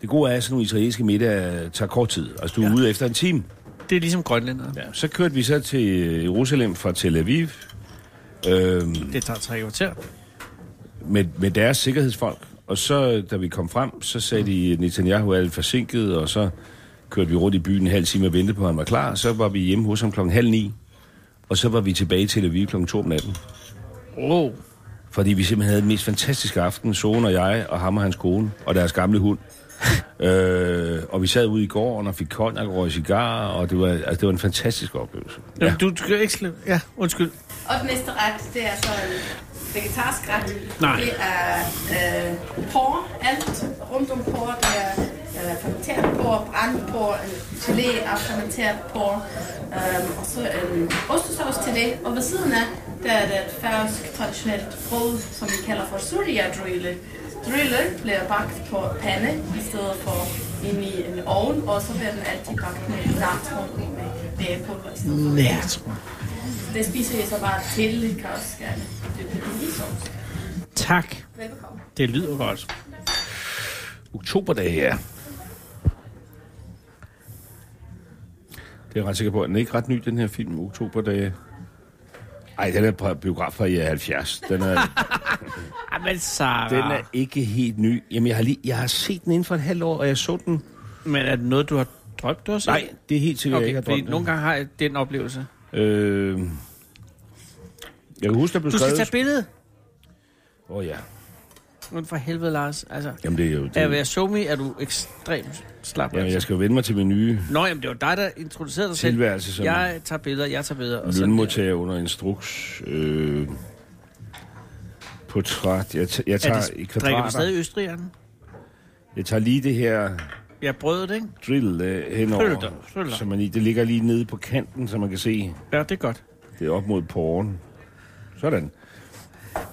S4: det gode er, at sådan nogle israelske middag tager kort tid. Altså, du er ja. ude efter en time.
S3: Det er ligesom grønlændere. Ja.
S4: Ja. Så kørte vi så til øh, Jerusalem fra Tel Aviv øh,
S3: Det tager tre kvarter.
S4: med, med deres sikkerhedsfolk. Og så, da vi kom frem, så sagde de, at Netanyahu er lidt forsinket, og så kørte vi rundt i byen en halv time og ventede på, at han var klar. Og så var vi hjemme hos ham klokken halv ni, og så var vi tilbage til Tel Aviv klokken to om natten.
S3: Åh, oh,
S4: Fordi vi simpelthen havde den mest fantastiske aften, Sohn og jeg, og ham og hans kone, og deres gamle hund. øh, og vi sad ude i gården og fik konjak og røg cigar, og det var, altså, det var en fantastisk oplevelse.
S3: ja. du skal ikke slippe. Ja, undskyld.
S5: Og den næste ret, det er så en vegetarisk ret.
S3: Nej.
S5: Det er øh, porre, alt rundt om porre. Det er øh, fermenteret porre, brændt porre, en gelé af fermenteret porre. Øhm, og så en ostesauce til det. Og ved siden af, der er det et færøsk traditionelt brød, som vi kalder for surya drille. Drille bliver bagt på pande i stedet for ind i en ovn, og så bliver den altid bagt med natron med bagepulver i stedet for
S3: Natron.
S5: det spiser jeg så bare til i kostskab. Det er lige sovs.
S3: Tak.
S5: Velbekomme.
S3: Det lyder godt.
S4: Oktoberdag, ja. Det er jeg ret sikker på. Den er ikke ret ny, den her film, Oktoberdag. Ej, den er fra- biograf fra i 70. Den er,
S3: Jamen, Sarah.
S4: den er ikke helt ny. Jamen, jeg har, lige, jeg har set den inden for et halvt år, og jeg så den.
S3: Men er det noget, du har drømt, du har set?
S4: Nej, det er helt sikkert, okay,
S3: Okay,
S4: jeg ikke
S3: fordi
S4: har drømt den.
S3: nogle gange har jeg den oplevelse.
S4: Øh, jeg kan huske, der blev
S3: Du skal
S4: skrevet...
S3: tage billedet.
S4: Åh oh, ja.
S3: Men for helvede, Lars. Altså,
S4: Jamen, det er jo... Det,
S3: er jeg så me, er du ekstremt slap.
S4: jamen,
S3: altså.
S4: jeg skal jo vende mig til min nye
S3: Nå, jamen, det var dig, der introducerede dig selv.
S4: tilværelse som jeg...
S3: Jeg tager billeder, jeg tager billeder. Og sådan der.
S4: lønmodtager under instruks. Øh, portræt. Jeg, t- jeg tager
S3: Er
S4: i
S3: det, drikker
S4: kvadrater.
S3: du stadig østrigeren?
S4: Jeg tager lige det her
S3: Jeg brød det, ikke?
S4: drill øh,
S3: Følg dig, følg
S4: henover,
S3: dig.
S4: så man i, det ligger lige nede på kanten, så man kan se,
S3: Ja, det er godt.
S4: det er op mod porren. Sådan.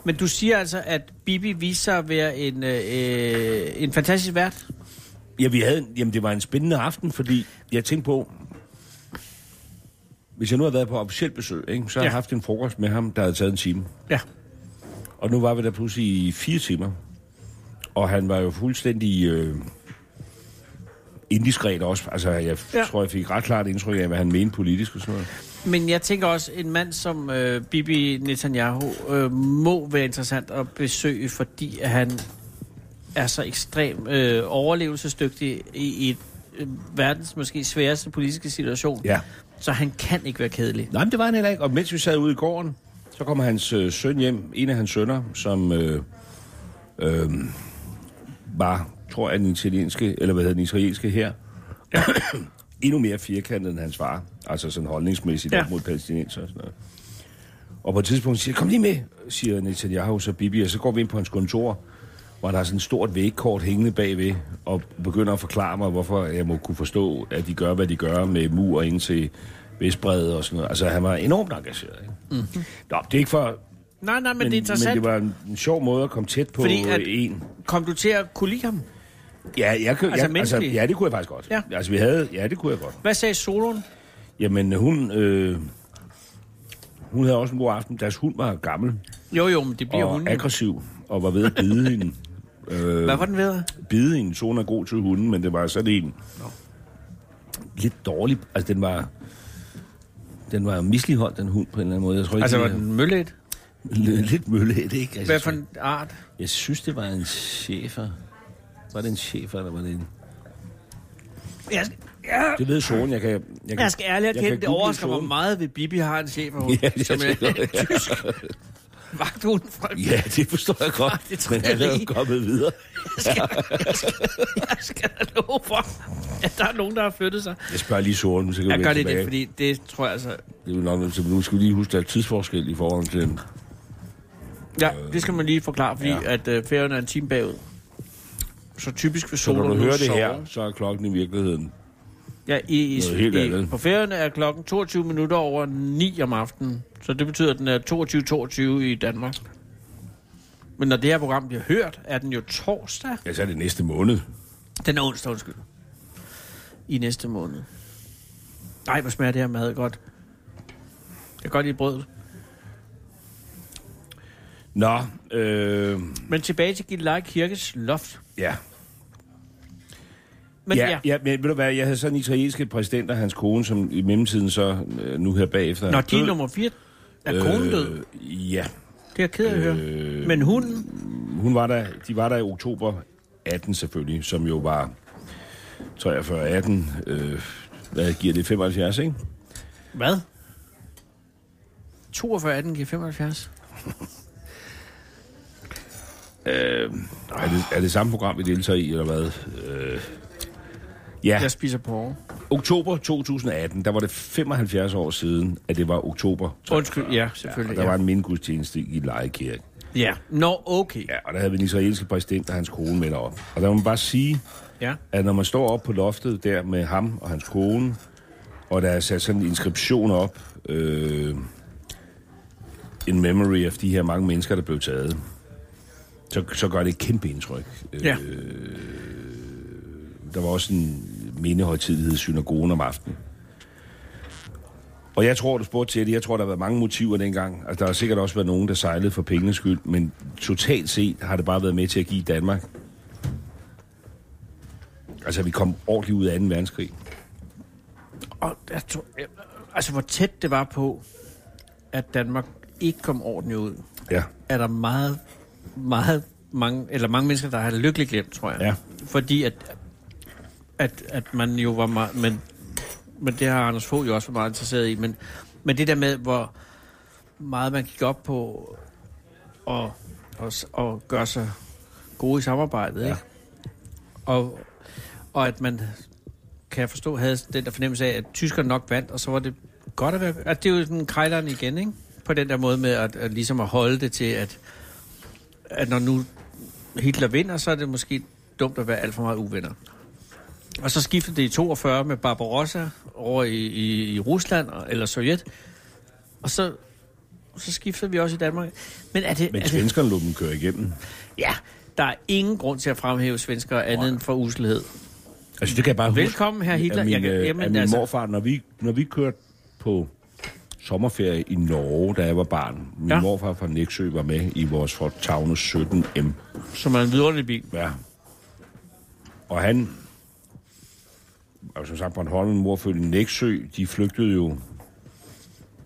S3: Men du siger altså, at Bibi viser sig at være en, øh, øh, en fantastisk vært?
S4: Ja, vi havde, en- jamen, det var en spændende aften, fordi jeg tænkte på, hvis jeg nu havde været på officielt besøg, ikke, så havde
S3: Ja.
S4: jeg haft en frokost med ham, der havde taget en time.
S3: Ja.
S4: Og nu var vi der pludselig i fire timer. Og han var jo fuldstændig øh, indiskret også. Altså, jeg
S3: Ja.
S4: ja. tror, jeg fik ret klart indtryk af, hvad han mente politisk og sådan noget.
S3: Men jeg tænker også, en mand som øh, Bibi Netanyahu øh, må være interessant at besøge, fordi at han er så ekstrem øh, overlevelsesdygtig i, i et, øh, verdens måske sværeste politiske situation.
S4: Ja.
S3: Så han kan ikke være kedelig.
S4: Nej, men det var han heller ikke. Og mens vi sad ude i gården, så kommer hans øh, søn hjem, en af hans sønner, som øh, øh, var, tror jeg, den italienske, eller hvad hedder den israelske her, endnu mere firkantet end hans far. Altså sådan holdningsmæssigt
S3: Ja.
S4: ja. mod palæstinenser og sådan noget. Og på et tidspunkt siger, kom lige med, siger Netanyahu så Bibi, og så går vi ind på hans kontor, hvor der er sådan et stort vægkort hængende bagved, og begynder at forklare mig, hvorfor jeg må kunne forstå, at de gør, hvad de gør med mur ind til Vestbred og sådan noget. Altså, han var enormt engageret, ikke? Mm-hmm. Nå, det er ikke for...
S3: Nej, nej, Mhm. men,
S4: Men,
S3: men det er interessant.
S4: men det var en, en sjov måde at komme tæt på
S3: Fordi
S4: Fordi
S3: at-
S4: at... en.
S3: Kom du til at kunne lide ham?
S4: Ja, jeg,
S3: Altså
S4: jeg, altså, jeg, altså,
S3: menneskeligt?
S4: ja, det kunne jeg faktisk godt.
S3: Ja.
S4: Altså, vi havde... Ja, det kunne jeg godt.
S3: Hvad sagde Solon?
S4: Jamen, hun... Øh, hun havde også en god aften. Deres hund var gammel
S3: Jo, jo, men det bliver
S4: og
S3: hun.
S4: aggressiv, og var ved at bide hende. Øh,
S3: Hvad var den ved?
S4: bide hende. Solen er god til hunden, men det var sådan en lidt dårlig... Altså, den var... Den var misligeholdt, den hund, på en eller anden måde. Jeg tror ikke,
S3: Altså, var
S4: det-
S3: den møllet?
S4: Lidt- lidt møllet, ikke? Altså,
S3: Hvad
S4: jeg,
S3: for
S4: tror,
S3: en art?
S4: jeg synes, det var en chefer. Var det en chefer, eller var det en...
S3: Jeg skal, ja,
S4: Det ved Solen, jeg kan... Jeg, kan,
S3: jeg skal ærligt
S4: kan
S3: erkende, det
S4: google
S3: overrasker mig
S4: Solen.
S3: meget, ved Bibi har en chef,
S4: Ja,
S3: ja,
S4: det
S3: som
S4: skal
S3: er
S4: jeg.
S3: tysk vagthund fra
S4: Ja, det forstår jeg godt.
S3: Det tror
S4: men
S3: jeg
S4: han er jo
S3: lige.
S4: kommet videre.
S3: Jeg skal da love for, at der er nogen, der har flyttet sig.
S4: Jeg spørger lige Solen, så kan
S3: Jeg
S4: vi
S3: gør
S4: vende
S3: det, det,
S4: tilbage.
S3: fordi det tror jeg altså...
S4: Det er jo nok, så nu skal vi lige huske, der er tidsforskel i forhold til...
S3: Ja, det skal man lige forklare, fordi ja.
S4: Ja.
S3: at øh, færgerne er en time bagud. Så typisk vil
S4: Så når
S3: solen
S4: du
S3: nu
S4: hører det
S3: sove.
S4: her, så er klokken i virkeligheden.
S3: Ja, i, i,
S4: Noget helt
S3: i,
S4: andet.
S3: på færgerne er klokken 22 minutter over 9 om aftenen. Så det betyder, at den er 22.22 i Danmark. Men når det her program bliver hørt, er den jo torsdag.
S4: Ja, så er det næste måned.
S3: Den er onsdag, undskyld. I næste måned. Nej, hvor smager det her mad godt. Jeg kan godt lide brødet.
S4: Nå, øh,
S3: Men tilbage til Gilleleje Kirkes loft.
S4: ja.
S3: Men
S4: ja, ja. men ved du hvad, jeg havde sådan en israelske præsident og hans kone, som i mellemtiden så øh, nu her bagefter... er
S3: Når
S4: død.
S3: de nummer 4 er øh, konen død.
S4: Øh, ja,
S3: Det er jeg ked af at høre.
S4: Øh,
S3: Men hunden,
S4: hun var der, de var der i oktober 18 selvfølgelig, som jo var 43, 18, øh, hvad giver det, 75, ikke?
S3: hvad? 42, 18, giver 75.
S4: Øhm, Er det, er det samme program, vi deltager i, eller hvad? Øh, ja,
S3: Jeg spiser porre.
S4: oktober 2018, der var det 75 år siden, at det var oktober.
S3: Undskyld, ja,
S4: Og
S3: selvfølgelig.
S4: der
S3: Ja,
S4: var en mindegudstjeneste i Lejekirke.
S3: ja. Nå, okay.
S4: Ja, og der havde vi den israelske præsident og hans kone med op. Og der må man bare sige,
S3: Ja.
S4: at når man står op på loftet der med ham og hans kone, og der er sat sådan en inskription op, øh, in memory af de her mange mennesker, der blev taget, så, så gør det et kæmpe indtryk. Øh,
S3: Ja.
S4: Der var også en mindehøjtidlighed i synagogen om aftenen. Og jeg tror, du spurgte til det, jeg tror, der har været mange motiver dengang. Altså, der har sikkert også været nogen, der sejlede for pengenes skyld, men totalt set har det bare været med til at give Danmark. Altså, vi kom ordentligt ud af 2. verdenskrig.
S3: Og jeg tror, jeg, altså, hvor tæt det var på, at Danmark ikke kom ordentligt ud,
S4: Ja.
S3: er der meget, meget mange, eller mange mennesker, der har lykkeligt glemt, tror jeg.
S4: Ja.
S3: Fordi at, at, at man jo var meget, men, men det har Anders Fogh jo også været meget interesseret i, men, men det der med, hvor meget man gik op på og, og, og gøre sig gode i samarbejdet, ja. ikke? Og, og at man, kan jeg forstå, havde den der fornemmelse af, at tyskerne nok vandt, og så var det godt at være... At det er jo sådan krejleren igen, ikke? På den der måde med at, at ligesom at holde det til, at, at når nu Hitler vinder, så er det måske dumt at være alt for meget uvenner. Og så skiftede det i 42 med Barbarossa over i, i, i Rusland og, eller Sovjet. Og så, så skiftede vi også i Danmark. Men er det...
S4: Men
S3: er det
S4: svenskerne lod dem køre igennem.
S3: ja, der er ingen grund til at fremhæve svenskere andet end for uselhed.
S4: Altså, det kan jeg bare huske.
S3: Velkommen, herr Hitler.
S4: Af min,
S3: Jeg kan-
S4: øh,
S3: jamen,
S4: af min
S3: altså-
S4: morfar, når vi, når vi kørte på sommerferie i Norge, da jeg var barn. Min
S3: Ja.
S4: ja. morfar fra Næksø var med i vores Ford Taunus 17M.
S3: Som er en vidunderlig bil.
S4: Ja. Og han, og som sagt, Bornholm, Morfølge, Næksø, de flygtede jo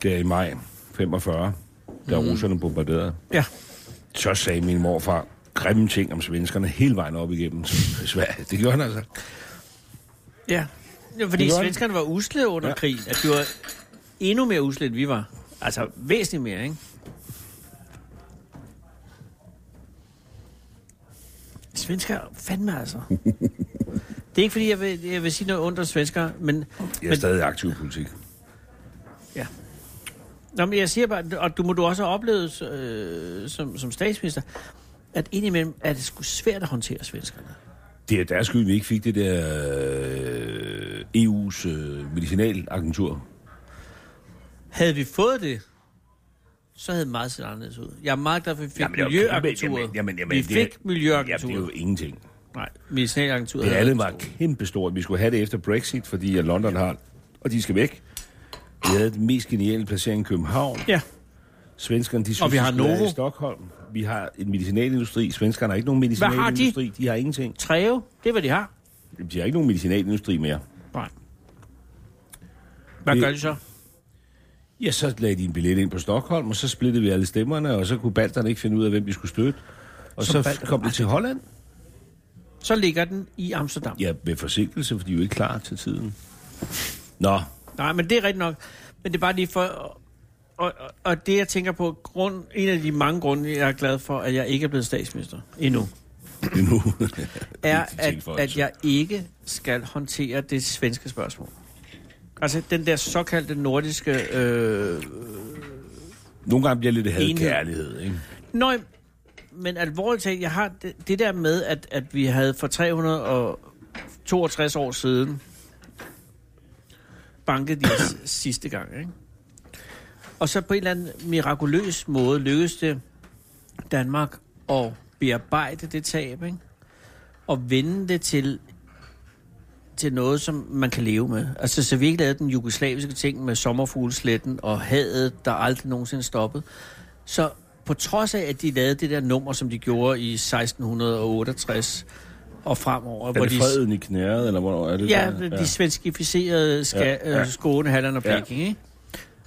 S4: der i maj 45, da
S3: Mhm.
S4: mm. russerne bombarderede.
S3: Ja.
S4: Så sagde min morfar grimme ting om svenskerne hele vejen op igennem Sverige. Det gjorde han altså.
S3: Ja. ja fordi
S4: Det gør det.
S3: svenskerne var usle under ja.
S4: Ja.
S3: krigen. At de var endnu mere usle, end vi var. Altså væsentligt mere, ikke? Svensker, fandme altså. Det er ikke fordi, jeg vil, jeg vil sige noget ondt om svensker, men...
S4: Jeg er
S3: men
S4: stadig aktiv i politik.
S3: ja. Nå, men jeg siger bare, og du må du også have oplevet øh, som, som statsminister, at indimellem er det sgu svært at håndtere svenskerne.
S4: Det er deres skyld, vi ikke fik det der øh, EU's øh, medicinalagentur.
S3: Havde vi fået det, så havde meget set anderledes ud. Jeg er meget glad for, at vi fik
S4: Jamen, det er jo kæmpe-
S3: Miljøagenturet.
S4: jamen, jamen, jamen,
S3: vi
S4: det er-
S3: fik Miljøagenturet.
S4: Jamen, det er jo ingenting.
S3: Nej, Medicinalagenturet.
S4: Det
S3: havde
S4: alle
S3: været
S4: var kæmpestort. Vi skulle have det efter Brexit, fordi at London har... Og de skal væk. Vi havde den mest geniale placering i København.
S3: stor. Ja,
S4: Svenskerne, de synes,
S3: Og vi har
S4: de skulle være
S3: Novo.
S4: i Stockholm. Vi har en medicinalindustri. Svenskerne har ikke nogen
S3: har de?
S4: medicinalindustri. de? har ingenting.
S3: Treve, det er, hvad de har.
S4: Jamen, De har ikke nogen medicinalindustri mere.
S3: Nej. Hvad
S4: Det-
S3: gør de så?
S4: Ja, så lagde de en billet ind på Stockholm, og så splittede vi alle stemmerne, og så kunne balterne ikke finde ud af, hvem de skulle støtte. Og
S3: Så
S4: så,
S3: balterne
S4: så kom det til Holland.
S3: Så ligger den i Amsterdam.
S4: Ja, med forsinkelse, fordi de er jo ikke klar til tiden. Nå,
S3: Nej, men det er rigtigt nok. Men det er bare lige for... Og, og, og det, jeg tænker på, grund, en af de mange grunde, jeg er glad for, at jeg ikke er blevet statsminister endnu,
S4: det er nu.
S3: er,
S4: Vigtig ting
S3: at,
S4: for os.
S3: at jeg ikke skal håndtere det svenske spørgsmål. Altså, den der såkaldte nordiske... Øh,
S4: Nogle gange bliver lidt had
S3: Enhed.
S4: kærlighed, ikke?
S3: nøj, men alvorligt talt, jeg har det, det der med, at, at vi havde for 362 år siden banket de s- sidste gang, ikke? Og så på en eller anden mirakuløs måde lykkedes det Danmark at bearbejde det tab, ikke? Og vende det til til noget, som man kan leve med. Altså, så vi ikke lavede den jugoslaviske ting med sommerfuglesletten og hadet, der aldrig nogensinde stoppede. Så på trods af, at de lavede det der nummer, som de gjorde i 1668 og fremover,
S4: Er
S3: hvor
S4: det
S3: de...
S4: freden i knæret, eller hvornår er det?
S3: Ja,
S4: der?
S3: de svenskificerede ska, ja,
S4: Ja, ja.
S3: ja. Skåne, Halland og
S4: Ja.
S3: Blekinge, ikke?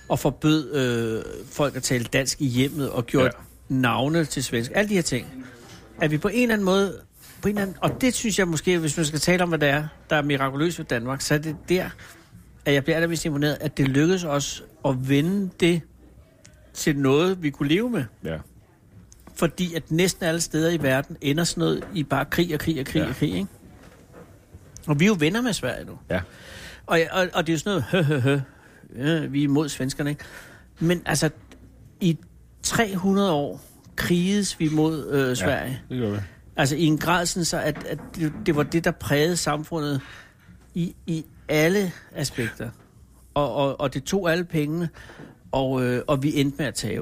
S3: Og forbød øh, folk at tale dansk i hjemmet og gjorde ja. navne til svensk. Alle de her ting. At vi på en eller anden måde... På en eller anden, og det synes jeg måske, hvis man skal tale om, hvad det er, der er mirakuløst ved Danmark, så er det der, at jeg bliver allermest imponeret, at det lykkedes os at vende det til noget, vi kunne leve med.
S4: ja.
S3: Fordi at næsten alle steder i verden ender sådan noget i bare krig og krig og krig
S4: Ja.
S3: ja. og krig, ikke? Og vi er jo venner med Sverige nu.
S4: ja.
S3: Og, og, og det er jo sådan noget, hø, hø, hø. Ja, vi er imod svenskerne, ikke? Men altså, i 300 år kriges vi mod øh, Sverige.
S4: Ja, det gør vi.
S3: Altså i en grad sådan så, at, at det, det var det, der prægede samfundet i, i alle aspekter. Og, og, og det tog alle pengene, og, øh, og vi endte med at tage.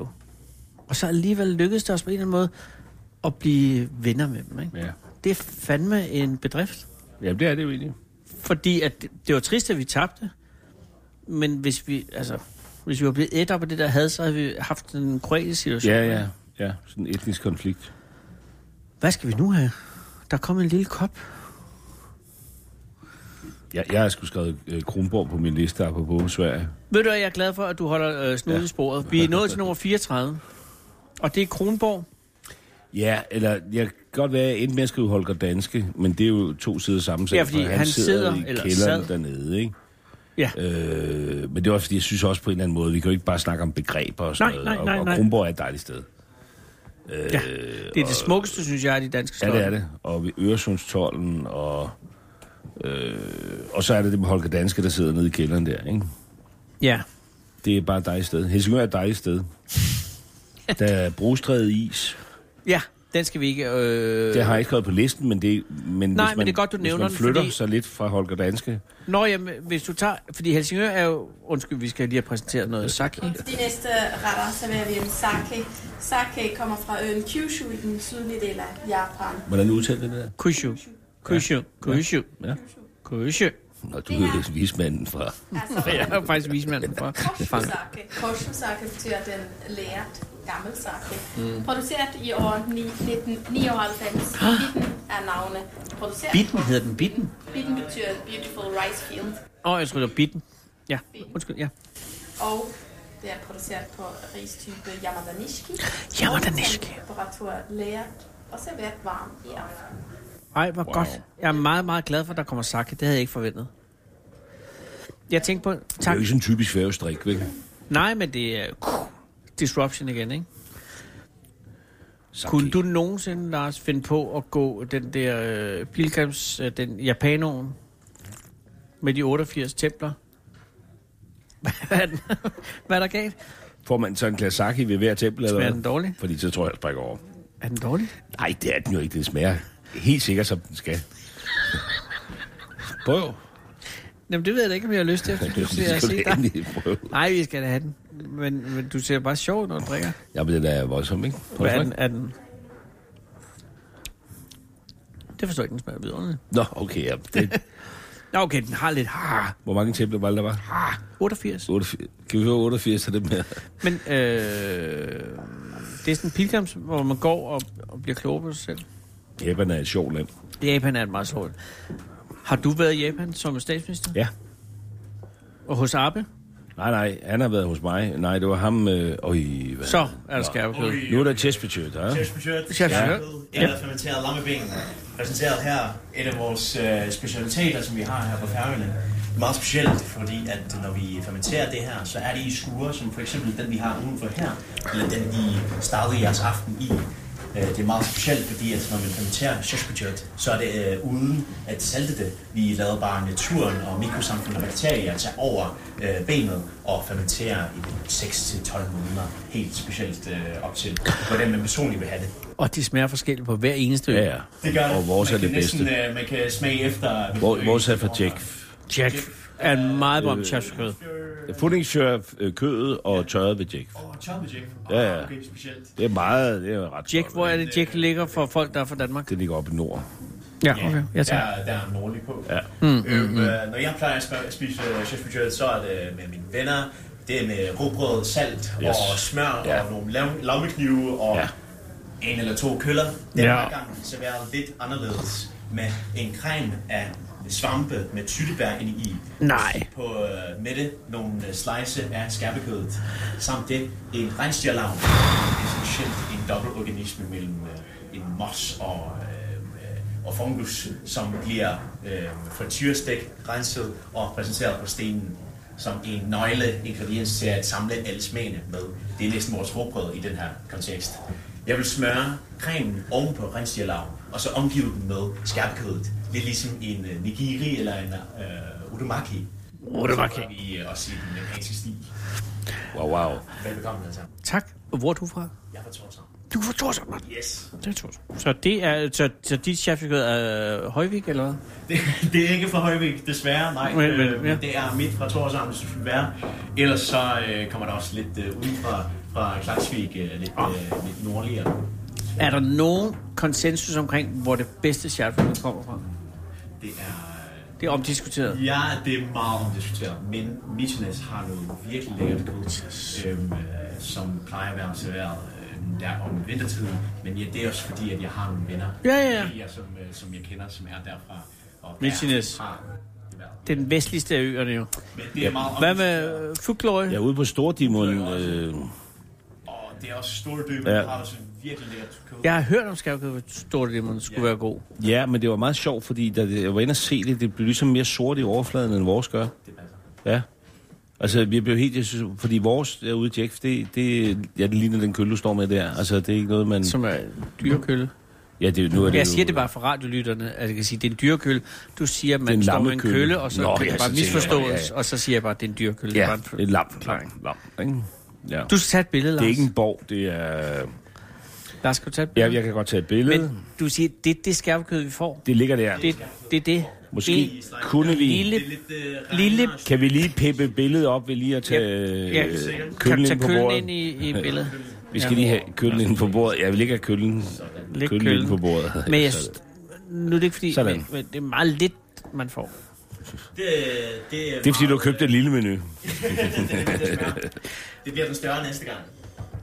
S3: Og så alligevel lykkedes det os på en eller anden måde at blive venner med dem. Ikke?
S4: Ja.
S3: Det er fandme en bedrift.
S4: Jamen, det er det jo egentlig.
S3: Fordi at det, det var trist, at vi tabte. Men hvis vi, altså, hvis vi var blevet et op af det der had, så havde vi haft en kroatisk situation.
S4: Ja, ja. Ja, sådan en etnisk konflikt.
S3: Hvad skal vi nu have? Der kom en lille kop.
S4: Ja, jeg har sgu skrevet øh, Kronborg på min liste apropos Sverige.
S3: Ved du, hvad, jeg er glad for, at du holder øh, snudet
S4: Ja.
S3: i sporet. Vi er nået til nummer 34. Og det er Kronborg.
S4: Ja, eller jeg kan godt være, at jeg endte med at skrive Holger Danske, men det er jo to sider samme sag,
S3: Ja, fordi
S4: for
S3: han
S4: sidder,
S3: sidder,
S4: i
S3: eller
S4: kælderen
S3: sad.
S4: dernede, ikke?
S3: Ja.
S4: Øh, men det er også, fordi jeg synes også på en eller anden måde, vi kan jo ikke bare snakke om begreber og sådan
S3: Nej,
S4: noget,
S3: nej, nej,
S4: og, og
S3: nej.
S4: Kronborg er et dejligt sted.
S3: ja. Det er det smukkeste, synes jeg, af de danske
S4: Øh, Ja,
S3: slotte.
S4: det er det. Og ved Øresundstollen, og, øh, og så er det det med Holger Danske, der sidder nede i kælderen der, ikke?
S3: Ja.
S4: Det er bare et dejligt sted. Helsingør er et dejligt sted. Der er brostrædet is.
S3: ja, den skal vi ikke... Øh...
S4: Det har jeg ikke skrevet på listen, men det men
S3: Nej,
S4: hvis man,
S3: men det er godt, du
S4: hvis
S3: nævner
S4: man
S3: den,
S4: flytter
S3: fordi-
S4: sig lidt fra Holger Danske.
S3: Nå, jamen, hvis du tager... Fordi Helsingør er jo... Undskyld, vi skal lige have præsenteret noget sake.
S5: De næste retter serverer vi en sake. Sake kommer fra øen Kyushu i den sydlige del af Japan.
S4: Hvordan udtalte det der?
S3: Kushu. Kushu. Kushu.
S4: Ja.
S3: Kushu.
S4: Nå, du er vismanden fra...
S5: Altså,
S3: Jeg er faktisk vismanden for fang.
S5: Koshusake. Koshusake betyder den lært gammel sake. Mm. Produceret i år 9 1999. Bitten er navnet. Produceret
S3: Bitten hedder den Bitten.
S5: Bitten betyder Beautiful Rice Field.
S3: Åh, oh, jeg tror, det var Bitten. Ja, undskyld, ja.
S5: Og det er produceret på ristype Yamadanishiki.
S3: Yamadanishiki.
S5: Og Temperatur lært og serveret varm i aften.
S3: Ej, hvor wow. godt. Jeg er meget, meget glad for, at der kommer sake. Det havde jeg ikke forventet. Jeg tænkte på...
S4: Det er
S3: Tak.
S4: jo ikke sådan en typisk færgestrik, vel?
S3: Nej, men det er uh, disruption igen, ikke?
S4: Sake.
S3: Kunne du nogensinde, Lars, finde på at gå den der øh, pilgrims, øh, den japanoen med de 88 templer? Hvad er, den? Hvad er der galt?
S4: Får man så en glas sake ved hver tempel, eller
S3: Smager
S4: hvad?
S3: den dårlig?
S4: Fordi så tror jeg, jeg springer over.
S3: Er den dårlig?
S4: Nej, det er den jo ikke. Den smager helt sikkert, som den skal. Prøv.
S3: Jamen, det ved jeg da ikke, om jeg har lyst til, efter
S4: Det
S3: du ser at se dig.
S4: prøv.
S3: Nej, vi skal da have den. Men, men du ser bare sjov, ud, når du drikker.
S4: Ja, men den er voldsom, ikke? Prøv
S3: Hvad er
S4: at
S3: den?
S4: smage.
S3: Er den? Det forstår jeg ikke, den smager vidunderligt.
S4: Nå, okay, ja. Det,
S3: Nå, okay, den har lidt... Ah,
S4: hvor mange templer var det, der var?
S3: ah, 88.
S4: 88. Kan vi høre 88 til det med?
S3: Men øh, det er sådan en pilgrims, hvor man går og, og bliver klogere på sig selv.
S4: Japan er et sjovt land.
S3: Japan er et meget sjovt. Har du været i Japan som statsminister?
S4: Ja.
S3: Og hos Abe?
S4: Nej, nej, han har været hos mig. Nej, det var ham... Øh, øj, hvad?
S3: Så er der skærpekød.
S6: Ui.
S4: Nu er der Chesterfield, ja?
S7: Chefbudget,
S3: Chefs budget.
S7: eller fermenteret lammeben, præsenteret her. Et af vores øh, specialiteter, som vi har her på færgerne. Meget specielt, fordi at når vi fermenterer det her, så er det i skure, som for eksempel den, vi har udenfor her, eller den, I startede jeres aften i. Øh, Det er meget specielt, fordi at når man fermenterer chefbudget, så er det øh, uden at salte det. Vi lader bare naturen og mikrosamfund og bakterier tage over øh, benet og fermentere i 6-12 måneder. Helt specielt øh, op til, hvordan man personligt vil have det.
S3: Og de smager forskelligt på hver eneste ø.
S4: Ja, ja.
S7: Det gør det.
S4: Og vores
S7: man
S4: er det
S7: kan
S4: bedste.
S7: Næsten, øh, man kan smage efter... hvilken
S4: Vor,
S7: øl
S4: vores er
S7: det
S4: fra
S7: kommer
S4: Jack.
S3: Jack er en meget berømt chefskød.
S4: Fundingsjør øh, kødet og tørret ved Jack.
S7: fra. Åh, choppet Jack.
S4: Ja, ja.
S7: Okay, specielt.
S4: Det er meget, det er jo ret
S3: Jack,
S4: sjovt.
S3: hvor er det, Jack ligger for folk, der er fra Danmark?
S4: Det ligger oppe i nord.
S3: Ja, mm, okay. Jeg tager.
S7: Der, der er nordlig på. øh,
S4: Ja.
S7: Mm, øhm, øh, når jeg plejer at sp- spise uh, chefbudget, så er det med mine venner, Det er med råbrød, salt yes.
S4: Yes.
S7: og smør ja.
S4: Ja.
S7: og nogle lam- lammeknive og ja.
S4: Ja.
S7: en eller to køller. Den
S3: Ja.
S7: ja. her gang serveret lidt anderledes med en creme af svampe med tyttebær ind i.
S3: Nej.
S7: På øh, midte nogle øh, slice af skærpekødet. Samt det en rensdyrlav. Essentielt en dobbeltorganisme mellem øh, en mos og øh, øh, og fungus, som bliver øh, frityrestik renset og præsenteret på stenen som en nøgle ingrediens til at samle alle smagene med. Det er næsten vores råbrød i den her kontekst. Jeg vil smøre cremen oven på rensdyrlarven, og så omgive den med skærpekødet. Lidt ligesom en øh, nigiri eller en øh, udamaki.
S3: Udamaki.
S7: Som I øh, også i den japanske stil.
S4: Wow, wow.
S7: Velbekomme alle sammen.
S3: Tak. Og hvor er du fra?
S7: Jeg er fra Torshavn.
S3: Du er fra Torshavn, mand.
S7: Yes.
S3: Det er Torshavn. Så, det er, så, så dit chefkød er øh, Højvik, eller hvad?
S7: Det, det er ikke fra Højvik, desværre. Nej,
S3: Men-
S7: men,
S3: men-
S7: øh, men,
S3: ja.
S7: det er midt fra Torshavn, hvis det skulle være. Ellers så øh, kommer der også lidt øh, ud fra, fra Klaksvik, øh, lidt,
S3: Ah.
S7: øh, lidt nordligere.
S3: Er der nogen konsensus omkring, hvor det bedste chefkød kommer fra?
S7: Det er,
S3: Det er omdiskuteret.
S7: øh, ja, det er meget omdiskuteret, men Michelin har noget virkelig lækkert kød, øhm, øh, som plejer at være serveret øh, der om vintertiden. Men ja, det er også fordi, at jeg har nogle venner,
S3: Ja, ja, ja.
S7: kolleger, som, øh, som jeg kender, som er derfra. Og
S3: Michelins.
S7: Der har det været.
S3: Det er den vestligste af øerne jo.
S7: Men det er meget
S3: Hvad
S7: omdiskuteret.
S3: med øh, Fugløje?
S4: Jeg er ude på Stordimon. Øh,
S7: Og det er også store dybe,
S4: Ja.
S7: ja. har også en virkelig lækkert kød.
S3: Jeg har hørt om skærkød, hvor stort det man skulle være god.
S4: ja, men det var meget sjovt, fordi da det- jeg var inde og se det, det blev ligesom mere sort i overfladen, end vores gør.
S7: Det passer.
S4: Ja. Altså, jeg blev helt... Jeg synes, fordi vores derude, Jack, det, det, ja, det ligner den kølle, du står med der. Altså, det er ikke noget, man...
S3: Som er dyrekølle.
S4: Ja, det, nu er det
S3: Jeg
S4: jo-
S3: siger det bare for radiolytterne, at jeg kan sige, det er en dyrekølle. Du siger, at
S4: Det er
S3: man
S4: en
S3: står med en
S4: lammekølle.
S3: kølle, og så
S4: Nå,
S3: Nå, kan
S4: ja,
S3: det bare
S4: så tænker jeg,
S3: misforstås,
S4: ja,
S3: og så siger jeg bare, at det er en dyrekølle. Det er
S4: Ja,
S3: bare en-
S4: et lam. Lam, lam, ikke? Ja.
S3: Du skal tage et billede, Lars.
S4: det er ikke en borg, det er...
S3: Lars, skal du tage et
S4: Ja,
S3: billede?
S4: jeg kan godt tage et billede.
S3: Men du siger, det er det skærpekød, vi får.
S4: Det ligger der.
S3: Det, det er det.
S4: Måske
S3: En
S4: kunne vi...
S3: lille,
S7: Det er lidt øh,
S3: lille
S4: Kan vi lige pippe billedet op ved lige at tage
S3: Ja,
S4: ja, ja.
S3: kan
S4: kølen
S3: tage
S4: ind på
S3: kølen
S4: bordet?
S3: ind i, i billedet.
S4: Vi skal lige have kølen ind på bordet. Jeg vil ikke have kølen,
S3: Læg
S4: kølen
S3: kølen.
S4: ind på bordet.
S3: Men jeg,
S4: Så-
S3: nu er det ikke fordi,
S4: Sådan.
S3: men, men det er meget lidt, man får.
S7: Det,
S6: øh,
S7: det,
S4: det er fordi, du har købt et lille menu.
S7: det bliver den større næste gang.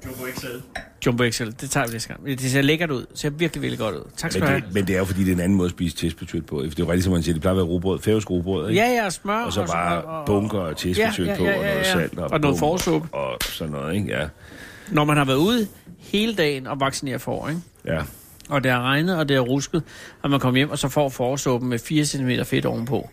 S7: Du må ikke selv.
S3: Jumbo XL, det tager vi næste gang. Det ser lækkert ud. Det ser virkelig, virkelig godt ud. Tak skal
S4: Men
S3: du have.
S4: det, men det er jo fordi, det er en anden måde at spise tæspetyt på. Det er jo rigtigt, som man siger, det plejer at være robrød, færøsk robrød, ikke?
S3: Ja, ja, og smør.
S4: Og så bare bunker og tæspetyt
S3: Ja, ja,
S4: på,
S3: ja,
S4: og
S3: ja,
S4: noget
S3: ja.
S4: salt.
S3: Og noget
S4: bunker
S3: forsuppe.
S4: Og sådan noget, ikke? Ja.
S3: Når man har været ude hele dagen og vaccineret for, ikke?
S4: ja.
S3: og det har regnet, og det har rusket, og man kommer hjem, og så får forårsåben med 4 cm fedt ovenpå.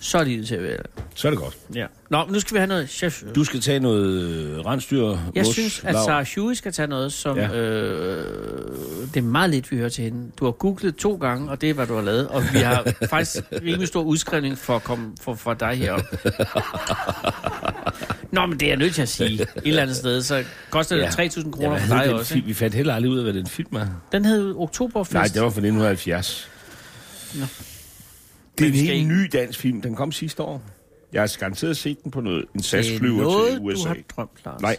S3: Så er det til at være.
S4: Så er det godt.
S3: Ja. Nå, men nu skal vi have noget chef.
S4: Du skal tage noget øh, rensdyr.
S3: Jeg
S4: mos,
S3: synes, at
S4: lav.
S3: Sarah Huey skal tage noget, som... Ja.
S4: Ja.
S3: Øh, det er meget lidt, vi hører til hende. Du har googlet to gange, og det er, hvad du har lavet. Og vi har faktisk rimelig stor udskrivning for, at komme, for, for dig herop. Nå, men det er jeg nødt til at sige. Et eller andet sted, så koster det
S4: Ja.
S3: 3.000
S4: Ja,
S3: kroner
S4: hvad
S3: for
S4: hed
S3: dig
S4: den
S3: også.
S4: film?
S3: Ikke?
S4: Vi fandt heller aldrig ud af, hvad den film er.
S3: Den hed Oktoberfest.
S4: Nej, det var fra 1970.
S3: Nå.
S4: Det er
S3: Men
S4: en
S3: skal I-
S4: helt ny dansk film. Den kom sidste år. Jeg har garanteret set den på noget, en
S3: det er
S4: SAS-flyver
S3: noget,
S4: til
S3: du
S4: USA.
S3: har drømt, Lars.
S4: Nej.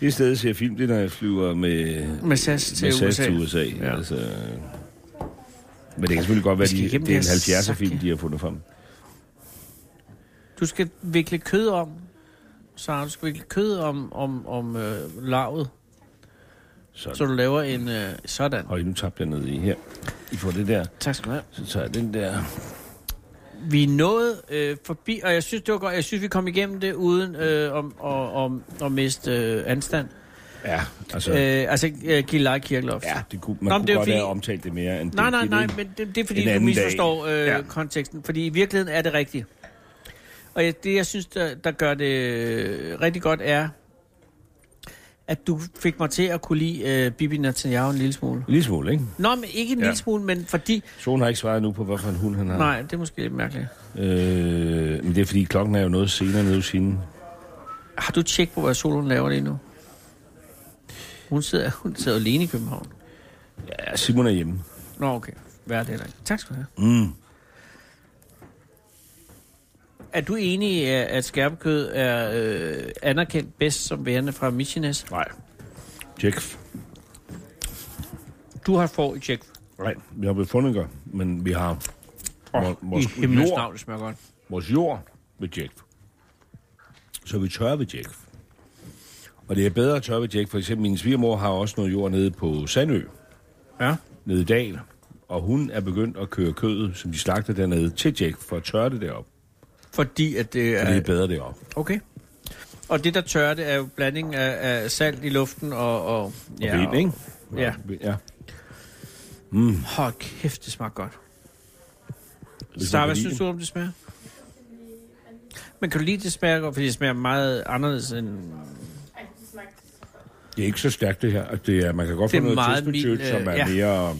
S4: Det sted, jeg ser film, det er, når jeg flyver med,
S3: Med SAS til
S4: med SAS
S3: USA.
S4: til USA.
S3: Ja.
S4: Ja. Altså, men det kan selvfølgelig godt være,
S3: skal
S4: de,
S3: igennem
S4: det er en
S3: det her
S4: 70'er film,
S3: sakke.
S4: de har fundet frem.
S3: Du skal vikle kød om, Sara. Du skal vikle kød om, om, om øh, lavet,
S4: Sådan.
S3: så du laver en øh, sådan.
S4: Høj, nu tabte jeg ned i her. I får det der.
S3: Tak skal du have.
S4: Så tager jeg den der.
S3: Vi nåede øh, forbi, og jeg synes, det var godt. Jeg synes, vi kom igennem det uden øh, om, og, om, at miste øh, anstand.
S4: Ja, altså...
S3: Øh, altså, øh, Gilleleje Kirkeloft.
S4: Ja, det kunne,
S3: Nå,
S4: man
S3: men
S4: kunne
S3: det er
S4: godt
S3: fordi-
S4: have omtalt det mere end
S3: Nej,
S4: det.
S3: nej,
S4: det,
S3: nej, men det, det er
S4: En
S3: fordi, du
S4: anden dag.
S3: misforstår øh, ja.
S4: Ja.
S3: konteksten. Fordi i virkeligheden er det rigtigt. Og jeg, det, jeg synes, der, der gør det øh, rigtig godt, er, at du fik mig til at kunne lide øh, Bibi Netanyahu en lille smule.
S4: Lige smule, ikke?
S3: Nå, men ikke en ja.
S4: Ja.
S3: lille smule, men fordi...
S4: Solen har ikke svaret nu på, hvorfor en hund han har.
S3: Nej, det er måske lidt mærkeligt.
S4: Øh, men det er fordi, klokken er jo noget senere nede hos hende.
S3: Har du tjek på, hvad Solon laver lige nu? Hun sidder, hun sidder jo alene i København.
S4: Ja, Simon er hjemme.
S3: Nå, okay. Hvad er det ikke? Tak skal du have.
S4: Mm.
S3: Er du enig i, at at skærpekød er øh, anerkendt bedst som værende fra Michines?
S4: Nej. Jack.
S3: Du har får i tjek.
S4: Nej, vi har befundinger, men vi har
S3: Oh,
S4: vor- vores,
S3: I himlens
S4: jord,
S3: navn, det smager godt.
S4: vores jord med Jack. så vi tørrer ved Jack. Og det er bedre at tørre ved Jack. For eksempel min svigermor har også noget jord nede på Sandø,
S3: Ja.
S4: nede i Dal. Og hun er begyndt at køre kødet, som de slagter dernede, til Jack for at tørre det derop.
S3: Fordi at det
S4: Og det
S3: er...
S4: er bedre derop.
S3: Okay. Og det, der tørrer det, er jo blanding af, af salt i luften og... og
S4: Ja, og vind, ikke?
S3: Ja.
S4: ja.
S3: Hold kæft, det smager godt.
S4: du
S3: Star,
S4: kan
S3: hvad
S4: lide
S3: synes
S4: det.
S3: du om det smager? Men kan du lide det smager godt? Fordi det smager meget anderledes end...
S4: Det er ikke så stærkt det her. Altså, Det er, man kan godt
S3: Det
S4: få
S3: er meget
S4: noget tilspidtøt,
S3: mild, øh,
S4: som er
S3: ja.
S4: mere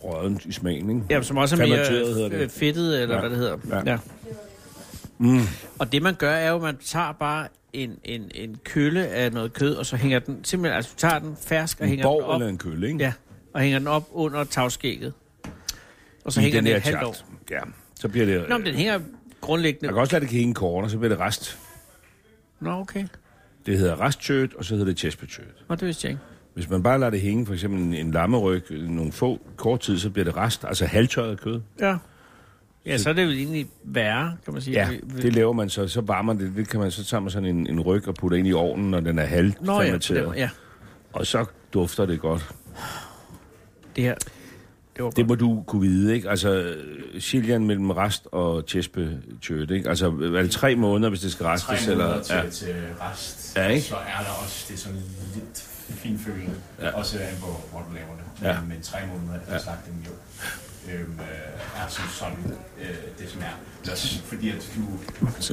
S4: rødent i smagen, ikke?
S3: Ja, som også er
S4: Fermenteret hedder
S3: mere
S4: det.
S3: øh, fedtet, eller
S4: Ja.
S3: ja. hvad det hedder.
S4: Ja. Mm.
S3: Og det, man gør, er jo, at man tager bare en, en, en kølle af noget kød, og så hænger den simpelthen... Altså, du tager den fersk og
S4: En
S3: hænger den
S4: borg
S3: op.
S4: eller en kølle, ikke?
S3: Ja, og hænger den op under tavskægget. Og så
S4: I
S3: hænger den,
S4: her
S3: et halvt
S4: chat.
S3: år.
S4: Ja, så bliver det...
S3: Nå, men den hænger grundlæggende...
S4: Man kan også lade det hænge en korn, og så bliver det rest.
S3: Nå, okay.
S4: Det hedder restkød, og så hedder det chespetøt.
S3: Nå, det vidste jeg ikke.
S4: Hvis man bare lader det hænge, for eksempel en, en lammeryg, øh, nogle få kort tid, så bliver det rest, altså halvtørret kød.
S3: Ja. Ja, så er det jo egentlig værre, kan man sige.
S4: Ja,
S3: Vi- vi-
S4: det laver man så, så varmer det, det kan man så tage med sådan en, en ryg og putte ind i ovnen, når den
S3: Nå
S4: er
S3: ja, på
S4: halvfermenteret.
S3: den måde, ja.
S4: Og så dufter det godt.
S3: Det her. Det var
S4: Det
S3: det...
S4: må du kunne vide, ikke? Altså, Siljan mellem rest og tjespe tjøt, ikke? Altså, er det tre måneder, hvis det skal
S7: Tre
S4: restes?
S7: måneder
S4: Eller?
S7: til,
S4: Ja.
S7: ja. til rest,
S4: Ja, ikke?
S7: så er der også det er sådan lidt fin følelse.
S4: Ja.
S7: Ja. Også an på, hvor du laver det. Men,
S4: Ja.
S7: ja. men tre måneder efter ja. slagtning jo øhm, øh, er som sådan øh, det, som er. Plus, fordi at du,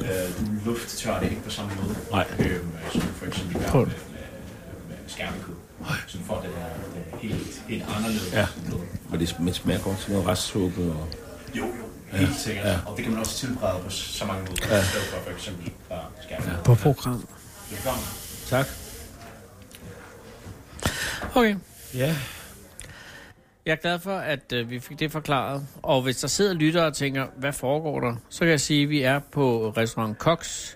S7: øh, du lufttør det ikke på samme måde.
S4: Nej.
S7: Øhm, øh, som du for eksempel gør
S3: Prøv.
S7: med, med, med skærmekød. Så du får det der øh, helt, helt anderledes
S4: Ja.
S7: blod.
S4: Og det sm- smager godt til noget restsuppe. Og...
S7: Jo, jo, helt sikkert. Ja. Og det kan man også tilberede på så mange måder. Ja. I stedet for for eksempel bare skærmekød.
S3: på program.
S7: Velkommen.
S4: Tak.
S3: Okay.
S4: Ja.
S3: Jeg er glad for, at øh, vi fik det forklaret. Og hvis der sidder lyttere og tænker, hvad foregår der? Så kan jeg sige, at vi er på restaurant Cox.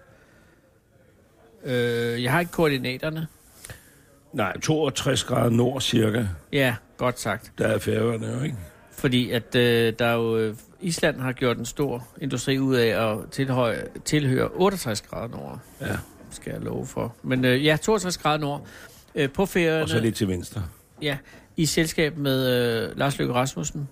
S3: Øh, jeg har ikke koordinaterne.
S4: Nej, 62 grader nord cirka.
S3: Ja, godt sagt.
S4: Der er færøerne jo, ikke?
S3: Fordi at øh, der er jo, øh, Island har gjort en stor industri ud af at tilhøje, tilhøre 68 grader nord.
S4: Ja.
S3: Skal jeg love for. Men øh, ja, 62 grader nord. Øh, på
S4: Og så
S3: ferierne,
S4: lidt til venstre.
S3: ja, i selskab med øh, Lars Løkke Rasmussen.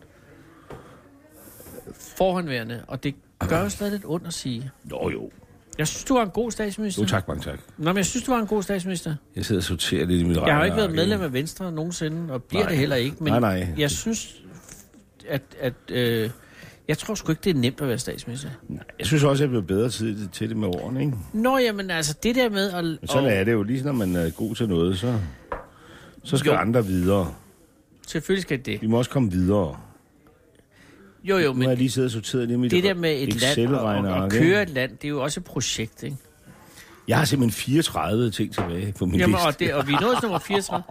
S3: Forhåndværende. Og det gør jo stadig lidt ondt at sige.
S4: Jo, jo.
S3: Jeg synes, du var en god statsminister.
S4: Jo, tak, mange tak.
S3: Nå, men jeg synes, du var en god statsminister.
S4: Jeg sidder og sorterer lidt i mit
S3: Jeg har jo ikke været medlem af Venstre nogensinde, og bliver
S4: Nej.
S3: det heller ikke. Men
S4: Nej, nej.
S3: jeg synes, at... at øh, jeg tror sgu ikke, det er nemt at være statsminister.
S4: Jeg synes også, jeg bliver bedre tid til det med årene, ikke?
S3: Nå, jamen altså, det der med at...
S4: Men sådan
S3: og,
S4: er det jo. Lige når man er god til noget, så, så skal
S3: Jo.
S4: jo. andre videre.
S3: Selvfølgelig skal det.
S4: Vi må også komme videre.
S3: Jo, jo,
S4: Nu har jeg
S3: men
S4: lige siddet og sorteret lige mit
S3: det der med et land og, og, og
S4: Excel-regneark, ikke?
S3: køre et land, det er jo også et projekt, ikke?
S4: Jeg har simpelthen 34 ting tilbage på min
S3: Jamen,
S4: liste.
S3: og, det, og vi er nået til nummer 34.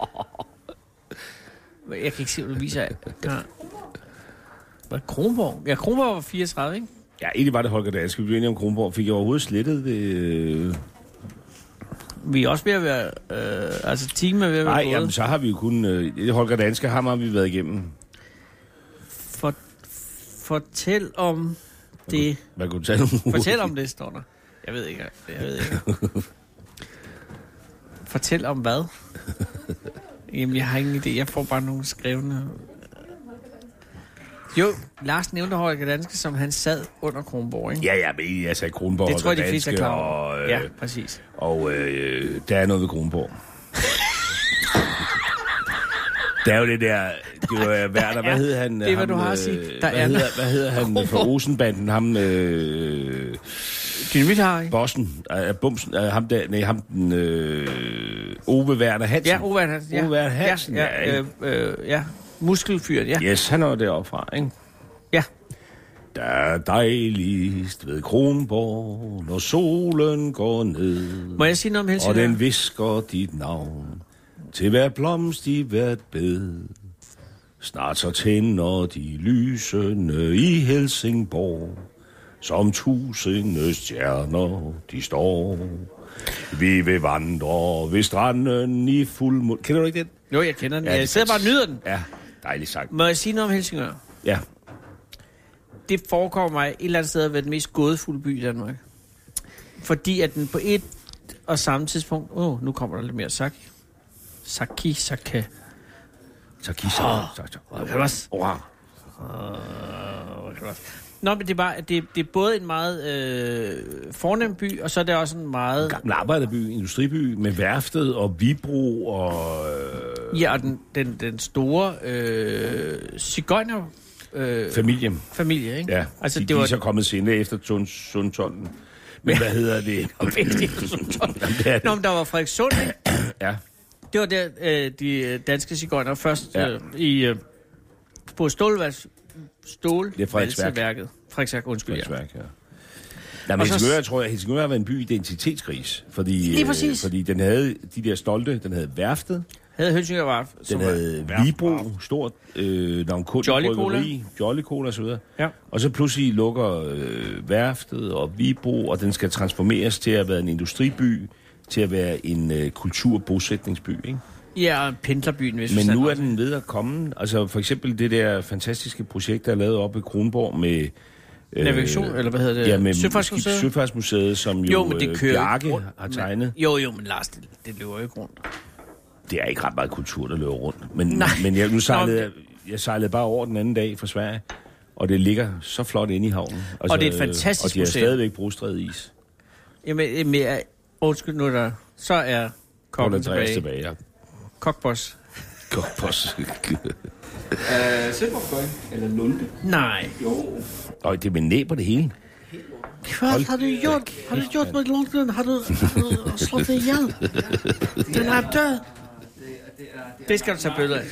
S3: Jeg kan ikke se, hvad du viser. Ja. Hvad Kronborg? Ja, Kronborg var 34, ikke?
S4: Ja, egentlig var det Holger Danske. Vi blev enige om Kronborg. Fik jeg overhovedet slettet det? øh?
S3: Vi er også ved at være... Øh, altså, timen er ved at være
S4: Nej,
S3: gået.
S4: jamen, så har vi jo kun... Øh, det Holger Danske ham har vi været igennem.
S3: For, fortæl om det.
S4: Hvad kunne du tale om?
S3: Fortæl om det, står der. Jeg ved ikke. Jeg ved ikke. Fortæl om hvad? Jamen, jeg har ingen idé. Jeg får bare nogle skrevne... Jo, Lars nævnte Holger Danske, som han sad under Kronborg, ikke?
S4: Ja, ja, men jeg sagde Kronborg,
S3: det tror jeg,
S4: Holger
S3: de fleste er
S4: Danske,
S3: klar over.
S4: Og, øh,
S3: Ja, præcis.
S4: og øh, der er noget ved Kronborg. Der er jo det der, det var Werner, hvad hed han?
S3: Det er, hvad
S4: ham,
S3: du har at
S4: øh,
S3: sige. Der
S4: hvad,
S3: er
S4: hedder,
S3: noget.
S4: hvad hedder han fra Rosenbanden? Ham, øh,
S3: Dynamit har ikke?
S4: Bossen, øh, Bumsen, øh, ham der, nej, ham den, øh, Ove Werner Hansen.
S3: Ja, Ove Werner Hansen. Ja.
S4: Ove Werner Hansen,
S3: ja. ja,
S4: ja,
S3: øh, øh, ja. Muskelfyren, ja.
S4: Yes, han er jo deroppe fra, ikke?
S3: ja.
S4: Der er dejligst ved Kronborg, når solen går ned,
S3: Må jeg sige noget om
S4: og
S3: Helsingør?
S4: den visker dit navn til hver blomst i hvert bed. Snart så tænder de lysende i Helsingborg, som tusinde stjerner de står. Vi vil vandre ved stranden i fuld mål. Kender du ikke den?
S3: Jo, jeg kender den.
S4: Ja,
S3: Ja,
S4: det
S3: jeg sidder bare og nyder den.
S4: Ja, dejlig sang.
S3: Må jeg sige noget om Helsingør?
S4: Ja,
S3: det forekommer mig et eller andet sted at være den mest gådefulde by i Danmark. Fordi at den på et og samme tidspunkt, åh, oh, nu kommer der lidt mere sake. Sake, sake.
S4: Så kig så. så, så.
S3: Wakaramas.
S4: Wow.
S3: Nå, men det er, bare, det, det er både en meget øh, fornem by, og så er det også en meget...
S4: Gammel arbejderby, industriby med værftet og Vibro og... Øh,
S3: Ja, og den, den, den store øh, cigøjner... Øh,
S4: familien.
S3: familie, ikke?
S4: Ja, altså, de, det var... de er så kommet senere efter Sund- Sundtolden. Men hvad hedder det? Jamen, det er
S3: Nå,
S4: det.
S3: men der var Frederikssund, ikke?
S4: Ja.
S3: Det var der, øh, de øh, danske cigøjner først ja.
S4: Ja.
S3: øh, i, øh, på Stålvas, Stål,
S4: Det er Frederiksværk.
S3: Valseværket. Frederiksværk, undskyld. Ja.
S4: Frederiksværk, ja. Nej, men
S3: Og så-
S4: Helsingør, tror jeg, Helsingør har været en by i identitetskris. Fordi, øh,
S3: Lige præcis.
S4: fordi den havde de der stolte, den havde værftet,
S3: Havde Hønsinger Varf,
S4: den
S3: var-
S4: havde Vibro, stort øh, navn kun
S3: Jolly
S4: Jolly Cola osv.
S3: Ja.
S4: Og så pludselig lukker øh, værftet og Vibro, og den skal transformeres til at være en industriby, til at være en øh, kulturbosætningsby, ikke?
S3: Ja, og pendlerbyen, hvis
S4: Men
S3: vi
S4: nu
S3: sender-
S4: er den ved at komme. Altså for eksempel det der fantastiske projekt, der er lavet oppe i Kronborg med... Øh,
S3: Navigation, eller hvad hedder det?
S4: Ja, med
S3: Søfartsmuseet?
S4: Søfartsmuseet. Søfartsmuseet, som jo, jo men det kører øh, Bjarke
S3: rundt,
S4: har
S3: men-
S4: tegnet.
S3: Jo, jo, men Lars, det, det løber jo ikke rundt.
S4: Det er ikke ret meget kultur, der løber rundt. Men,
S3: Nej.
S4: men jeg, nu sejlede,
S3: Nå,
S4: jeg, jeg sejlede bare over den anden dag fra Sverige, og det ligger så flot inde i havnen. Altså,
S3: Og det er et fantastisk
S4: Og de har
S3: museum.
S4: stadigvæk brugstræd is.
S3: Jamen, øh, men, jeg- undskyld nu, er der, så er
S4: Kun
S3: kokken
S4: Andreas
S3: tilbage. tilbage.
S4: tilbage. Ja.
S3: Kokboss.
S4: Godt på s-
S8: Øh, Silberføj, eller Lunde.
S3: Nej.
S8: Jo,
S4: Øj, det er med næb på det hele.
S3: Hvad har du gjort? Har du gjort med Lundgren? Har du, har du slået det ihjel? Den er død. Det skal du tage billeder af.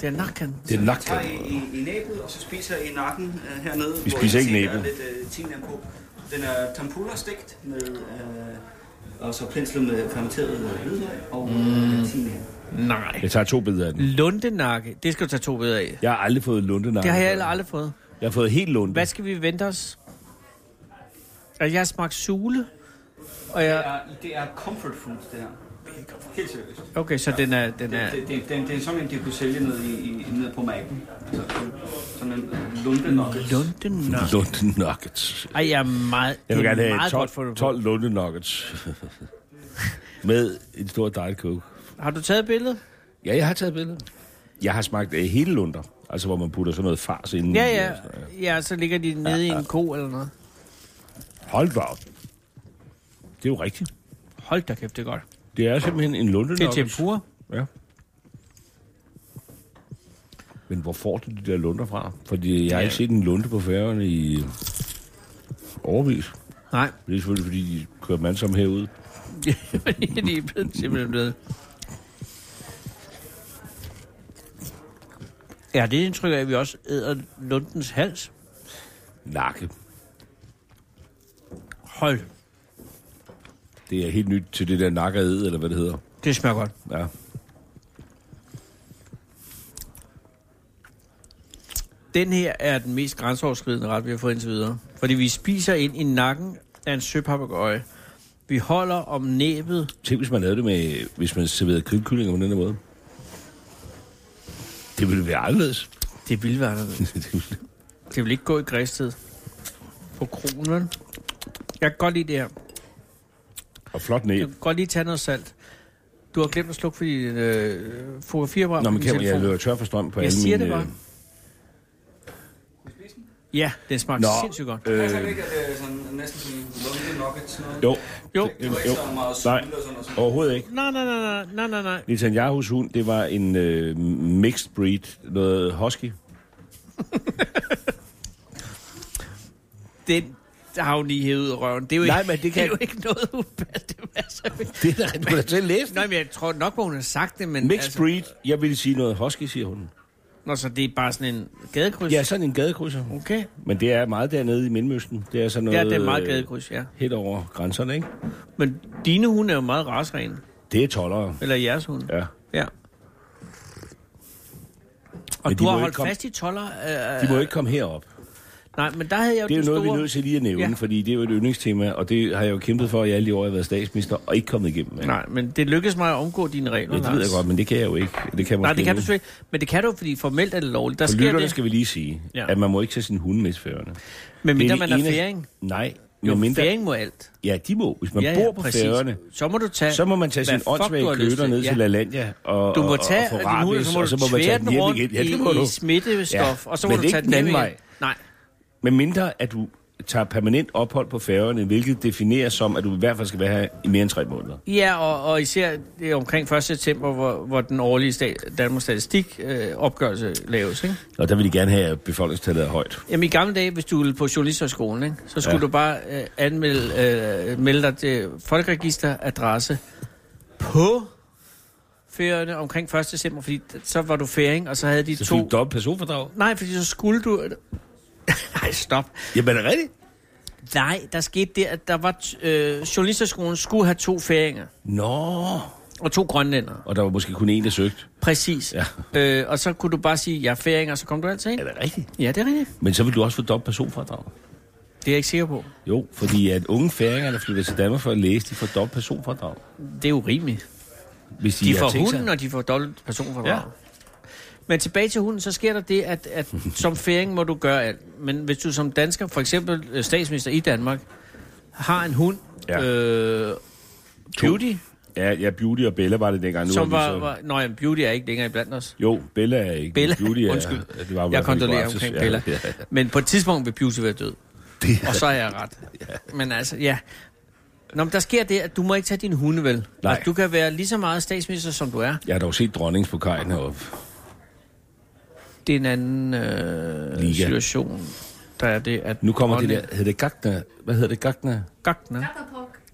S3: Det er nakken.
S4: Det er
S8: Jeg tager
S4: nok.
S8: i, i, i næbet, og så spiser jeg i nakken øh, hernede. hvor
S4: spiser
S8: jeg
S4: ikke
S8: tænker,
S4: næbet.
S8: der er lidt øh, timian på. Den er tempura stegt med... Øh, og så penslet med fermenteret øh, hvidløg og mm. timian.
S3: Nej.
S4: Jeg tager to billeder af den.
S3: Lundenakke. Det skal du tage to billeder af.
S4: Jeg har aldrig fået lundenakke.
S3: Det har jeg heller aldrig fået.
S4: Jeg har fået helt lunde.
S3: Hvad skal vi vente os? Altså, jeg har smagt sule. Og
S8: Det
S3: jeg...
S8: er, det er comfort food, det her. Helt seriøst.
S3: Okay, så den er... Den
S8: Det,
S3: er
S8: det, det, det, det er sådan en, de kunne sælge ned, i, i, ned på mærken. Altså, sådan en lunde nuggets.
S3: Lundenakke.
S4: Lunde Nuggets.
S3: Ej, jeg er meget...
S4: Jeg vil
S3: det er
S4: gerne have
S3: meget
S4: 12,
S3: godt fundet på.
S4: 12 lunde nuggets. med en stor diet coke.
S3: Har du taget billedet?
S4: Ja, jeg har taget billeder. Jeg har smagt øh, hele lunder. Altså, hvor man putter sådan noget fars inden.
S3: Ja,
S4: i, øh,
S3: ja.
S4: og sådan noget.
S3: Ja, så ligger de nede i en ko eller noget.
S4: Hold da op. Det er jo rigtigt.
S3: Hold da kæft, det er godt.
S4: Det er simpelthen en lunde
S3: Det er tempura.
S4: Ja. Men hvor får du de der lunder fra? Fordi jeg har ikke set en lunde på færgerne i overvis.
S3: Nej,
S4: Det er selvfølgelig, fordi de kører dem alle sammen herud.
S3: fordi de er blevet simpelthen blevet... Ja, det er indtryk af, at vi også æder lundens hals.
S4: Nakke.
S3: Hold,
S4: Det er helt nyt til det der nakke ad, eller hvad det hedder.
S3: det smager godt.
S4: Ja.
S3: Den her er den mest grænseoverskridende ret, vi har fået indtil videre. Fordi vi spiser ind i nakken af en søpapagøje. Vi holder om næbet.
S4: Tænk, hvis man lavede det med, hvis man serverede grillkyllinger på den her måde. Det ville være anderledes.
S3: Det ville være anderledes. Det vil ikke gå i Græsted. På kronen. Jeg kan godt lide det her.
S4: og flot
S3: Jeg
S4: næb.
S3: kan godt lige tage noget salt. Du har glemt at slukke for din øh, fotografiapparat.
S4: Nå,
S3: på
S4: men
S3: din
S4: kan man, jeg
S3: telefon.
S4: løber tør for strøm på
S3: Jeg
S4: alle
S3: siger
S4: mine...
S3: det bare.
S4: øh,
S3: Ja, den smagte
S4: Nå,
S3: sindssygt godt.
S8: Øh.
S4: øh,
S8: Altså, ikke, at det er sådan, næsten sådan en lunde nuggets. Noget.
S4: jo.
S3: Jo.
S8: Det var ikke så meget sult
S4: Nej,
S8: og sådan noget.
S4: overhovedet ikke.
S3: Nej, nej, nej, nej, nej, nej, nej.
S4: Netanyahu's hund, det var en øh, mixed breed, noget husky.
S3: Den har hun lige hævet ud af røven. Det er jo
S4: Nej,
S3: ikke,
S4: men det kan-
S3: er jo ikke noget, hun det passer med.
S4: Det er da, du kan da selv læse
S3: Nå, men jeg tror nok, hvor hun har sagt det, men... altså-
S4: Mixed breed, jeg ville sige noget husky, siger hun.
S3: Nå, så det er bare sådan en gadekryds?
S4: Ja, sådan en gadekrydser.
S3: Okay.
S4: Men det er meget dernede i Mellemøsten. Det er sådan noget...
S3: Ja, det er meget
S4: øh,
S3: gadekryds, ja.
S4: Helt over grænserne, ikke?
S3: Men dine hunde er jo meget rasrene.
S4: Det er tollere.
S3: Eller jeres hunde.
S4: Ja.
S3: Ja. Og
S4: Men
S3: du
S4: de må
S3: har
S4: ikke
S3: holdt
S4: komme-
S3: fast i toller. Øh,
S4: De må ikke komme herop.
S3: nej, men der havde jeg jo
S4: Det er jo
S3: den
S4: noget, vi
S3: store...
S4: er nødt til lige at nævne,
S3: Ja.
S4: ja. fordi det er jo et yndlingstema, og det har jeg jo kæmpet for i alle de år, jeg har været statsminister, og ikke kommet igennem med.
S3: Nej, men det lykkedes mig at omgå dine regler,
S4: Ja, det ved jeg
S3: Lars.
S4: godt, men det kan jeg jo ikke. Det kan
S3: Nej,
S4: jeg måske
S3: det kan
S4: nu.
S3: du selvfølgelig ikke. Men det kan du, fordi formelt er det lovligt. Der
S4: For
S3: sker
S4: lytterne
S3: det,
S4: skal vi lige sige,
S3: Ja.
S4: ja. at man må ikke tage sin hunde med til færgerne.
S3: men
S4: Det
S3: mindre
S4: det
S3: man er
S4: eneste-
S3: færing.
S4: Nej,
S3: Jo,
S4: mindre-
S3: færing må alt.
S4: Ja, de må. Hvis man ja, bor på præcis. færgerne,
S3: Så må du tage...
S4: så må man tage
S3: hvad
S4: sin
S3: fuck, du
S4: åndssvage
S3: har lyst
S4: køder
S3: til.
S4: ned
S3: Ja.
S4: til LaLandia og,
S3: Du må
S4: og-
S3: tage
S4: og, og få
S3: din hud,
S4: rabies,
S3: så må
S4: og
S3: du
S4: så må man tage
S3: tvære
S4: den
S3: den
S4: hjem
S3: rundt
S4: igen. Ja,
S3: i,
S4: det må
S3: i
S4: du.
S3: smittestof, ja. og så må
S4: Men
S3: du
S4: det er
S3: tage
S4: ikke
S3: den
S4: den
S3: hjem
S4: anden
S3: igen.
S4: vej.
S3: Nej,
S4: Men mindre, at du tager permanent ophold på færgerne, hvilket defineres som, at du i hvert fald skal være her i mere end tre måneder.
S3: Ja, og, og især det er omkring 1. september, hvor, hvor den årlige stat, Danmarks Statistik øh, opgørelse laves. Ikke?
S4: Og der vil de gerne have, at befolkningstallet er højt.
S3: Jamen i gamle dage, hvis du ville på journalisterskolen, ikke? så skulle ja.
S4: Ja.
S3: du bare øh, anmelde, øh, melde dig til folkeregisteradresse på ferierne omkring 1. december, fordi d- så var du færing, og så havde de
S4: Så fik
S3: to...
S4: du dobbelt personfordrag.
S3: Nej, fordi så skulle du... Nej, stop.
S4: Jamen, er det rigtigt?
S3: Nej, der skete det, at der var... T- øh, journalisterskolen skulle have to færinger
S4: Nå.
S3: og to grønlændere.
S4: Og der var måske kun én, der søgte.
S3: Præcis.
S4: Ja.
S3: Øh, og så kunne du bare sige, jeg er færing, og så kom du altid ind.
S4: Er det rigtigt?
S3: Ja, det er rigtigt.
S4: Men så vil du også få dobbelt personfordrag.
S3: Det er jeg ikke sikker på.
S4: Jo, fordi at unge færinger, der flytter til Danmark for at læse, de får dobbelt personfordrag.
S3: Det er urimeligt.
S4: Hvis de,
S3: De
S4: har
S3: får
S4: tænkt sig-
S3: hunden, og de får dobbelt personfordrag. Ja.
S4: Ja.
S3: Men tilbage til hunden, så sker der det, at, at som færing må du gøre alt. Men hvis du som dansker, for eksempel øh, statsminister i Danmark, har en hund, ja.
S4: Ja.
S3: øh,
S4: To.
S3: Beauty,
S4: Ja, ja, Beauty og Bella var det dengang. Nu
S3: som
S4: er de
S3: var... var Nå, jamen, Beauty er ikke længere blandt os.
S4: Jo, Bella er ikke.
S3: Bella,
S4: Beauty er,
S3: undskyld.
S4: Det var jo i hvert
S3: Jeg
S4: fald i går
S3: kondolerer
S4: aftes.
S3: omkring
S4: Ja,
S3: Bella.
S4: ja, ja.
S3: Men på et tidspunkt vil Beauty være død.
S4: Det er-
S3: Og så er jeg ret. Men altså, ja. Nå, men der sker det, at du må ikke tage din hunde, vel?
S4: Nej.
S3: Altså, du kan være lige så meget statsminister, som du er.
S4: Jeg har dog set dronningens på kajen heroppe.
S3: Det er en anden øh,
S4: Liga.
S3: situation, der er det, at...
S4: Nu kommer det
S3: dronning-
S4: der, hedder det Gagner? Hvad hedder det, Gagner?
S3: Gagner.
S4: Gagner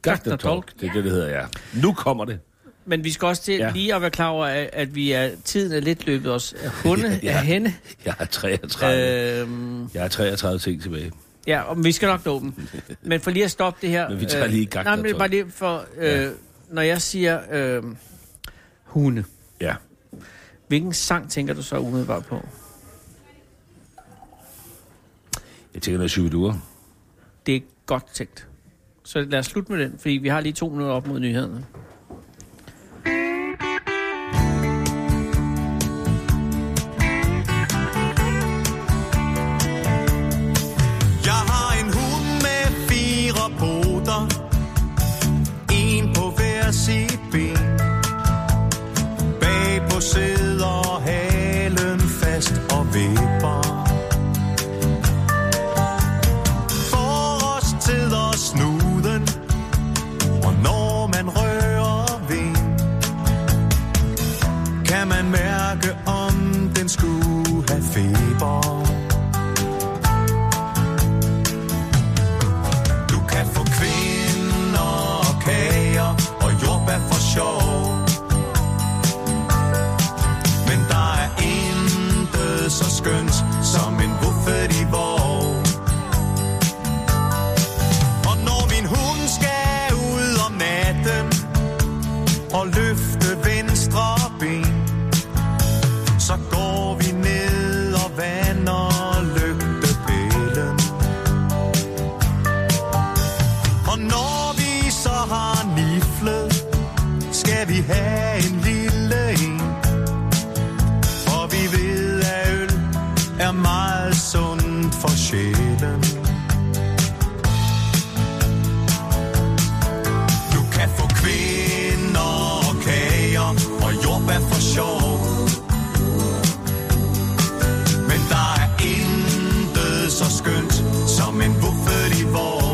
S3: Gagner-talk.
S4: Talk. Det er det, det hedder, ja. Nu kommer det.
S3: Men vi skal også til ja.
S4: Ja.
S3: lige at være klar over, at- at vi er, tiden er lidt løbet os hunde ja,
S4: Ja,
S3: ja.
S4: ja.
S3: af hende.
S4: Jeg har 33. Øh.
S3: Øhm,
S4: Jeg har 33 ting tilbage.
S3: ja, og vi skal nok nå dem. Men for lige at stoppe det her...
S4: Men vi tager
S3: øh,
S4: lige Gagner
S3: Nej, men det er
S4: Talk.
S3: bare lige for... Øh, ja. Når jeg siger øh, hunde,
S4: Ja.
S3: hvilken sang tænker du så umiddelbart på?
S4: Jeg tænker noget psykodur.
S3: Det er godt tænkt. Så lad os slutte med den, fordi vi har lige to minutter op mod nyhederne.
S7: Jeg har en hund med fire poter En på hver sit ben Bag på sidder halen fast og vipper Forårstider snuden Og når man rører ved Kan man mærke om den skulle have feber Du kan få kvinder og kager og jordbær for sjov. Men der er intet så skønt som en buffet i vår. Og når min hund skal ud om natten og løfte venstre ben, så går vi ned og vander lygtepælen. Og når vi så har niflet, skal vi have en lille en. For vi ved, at øl er meget sundt for sjælen. Du kan få kvinder og kager og jordbær for sjov. Men der er intet så skønt som en buffet i vor.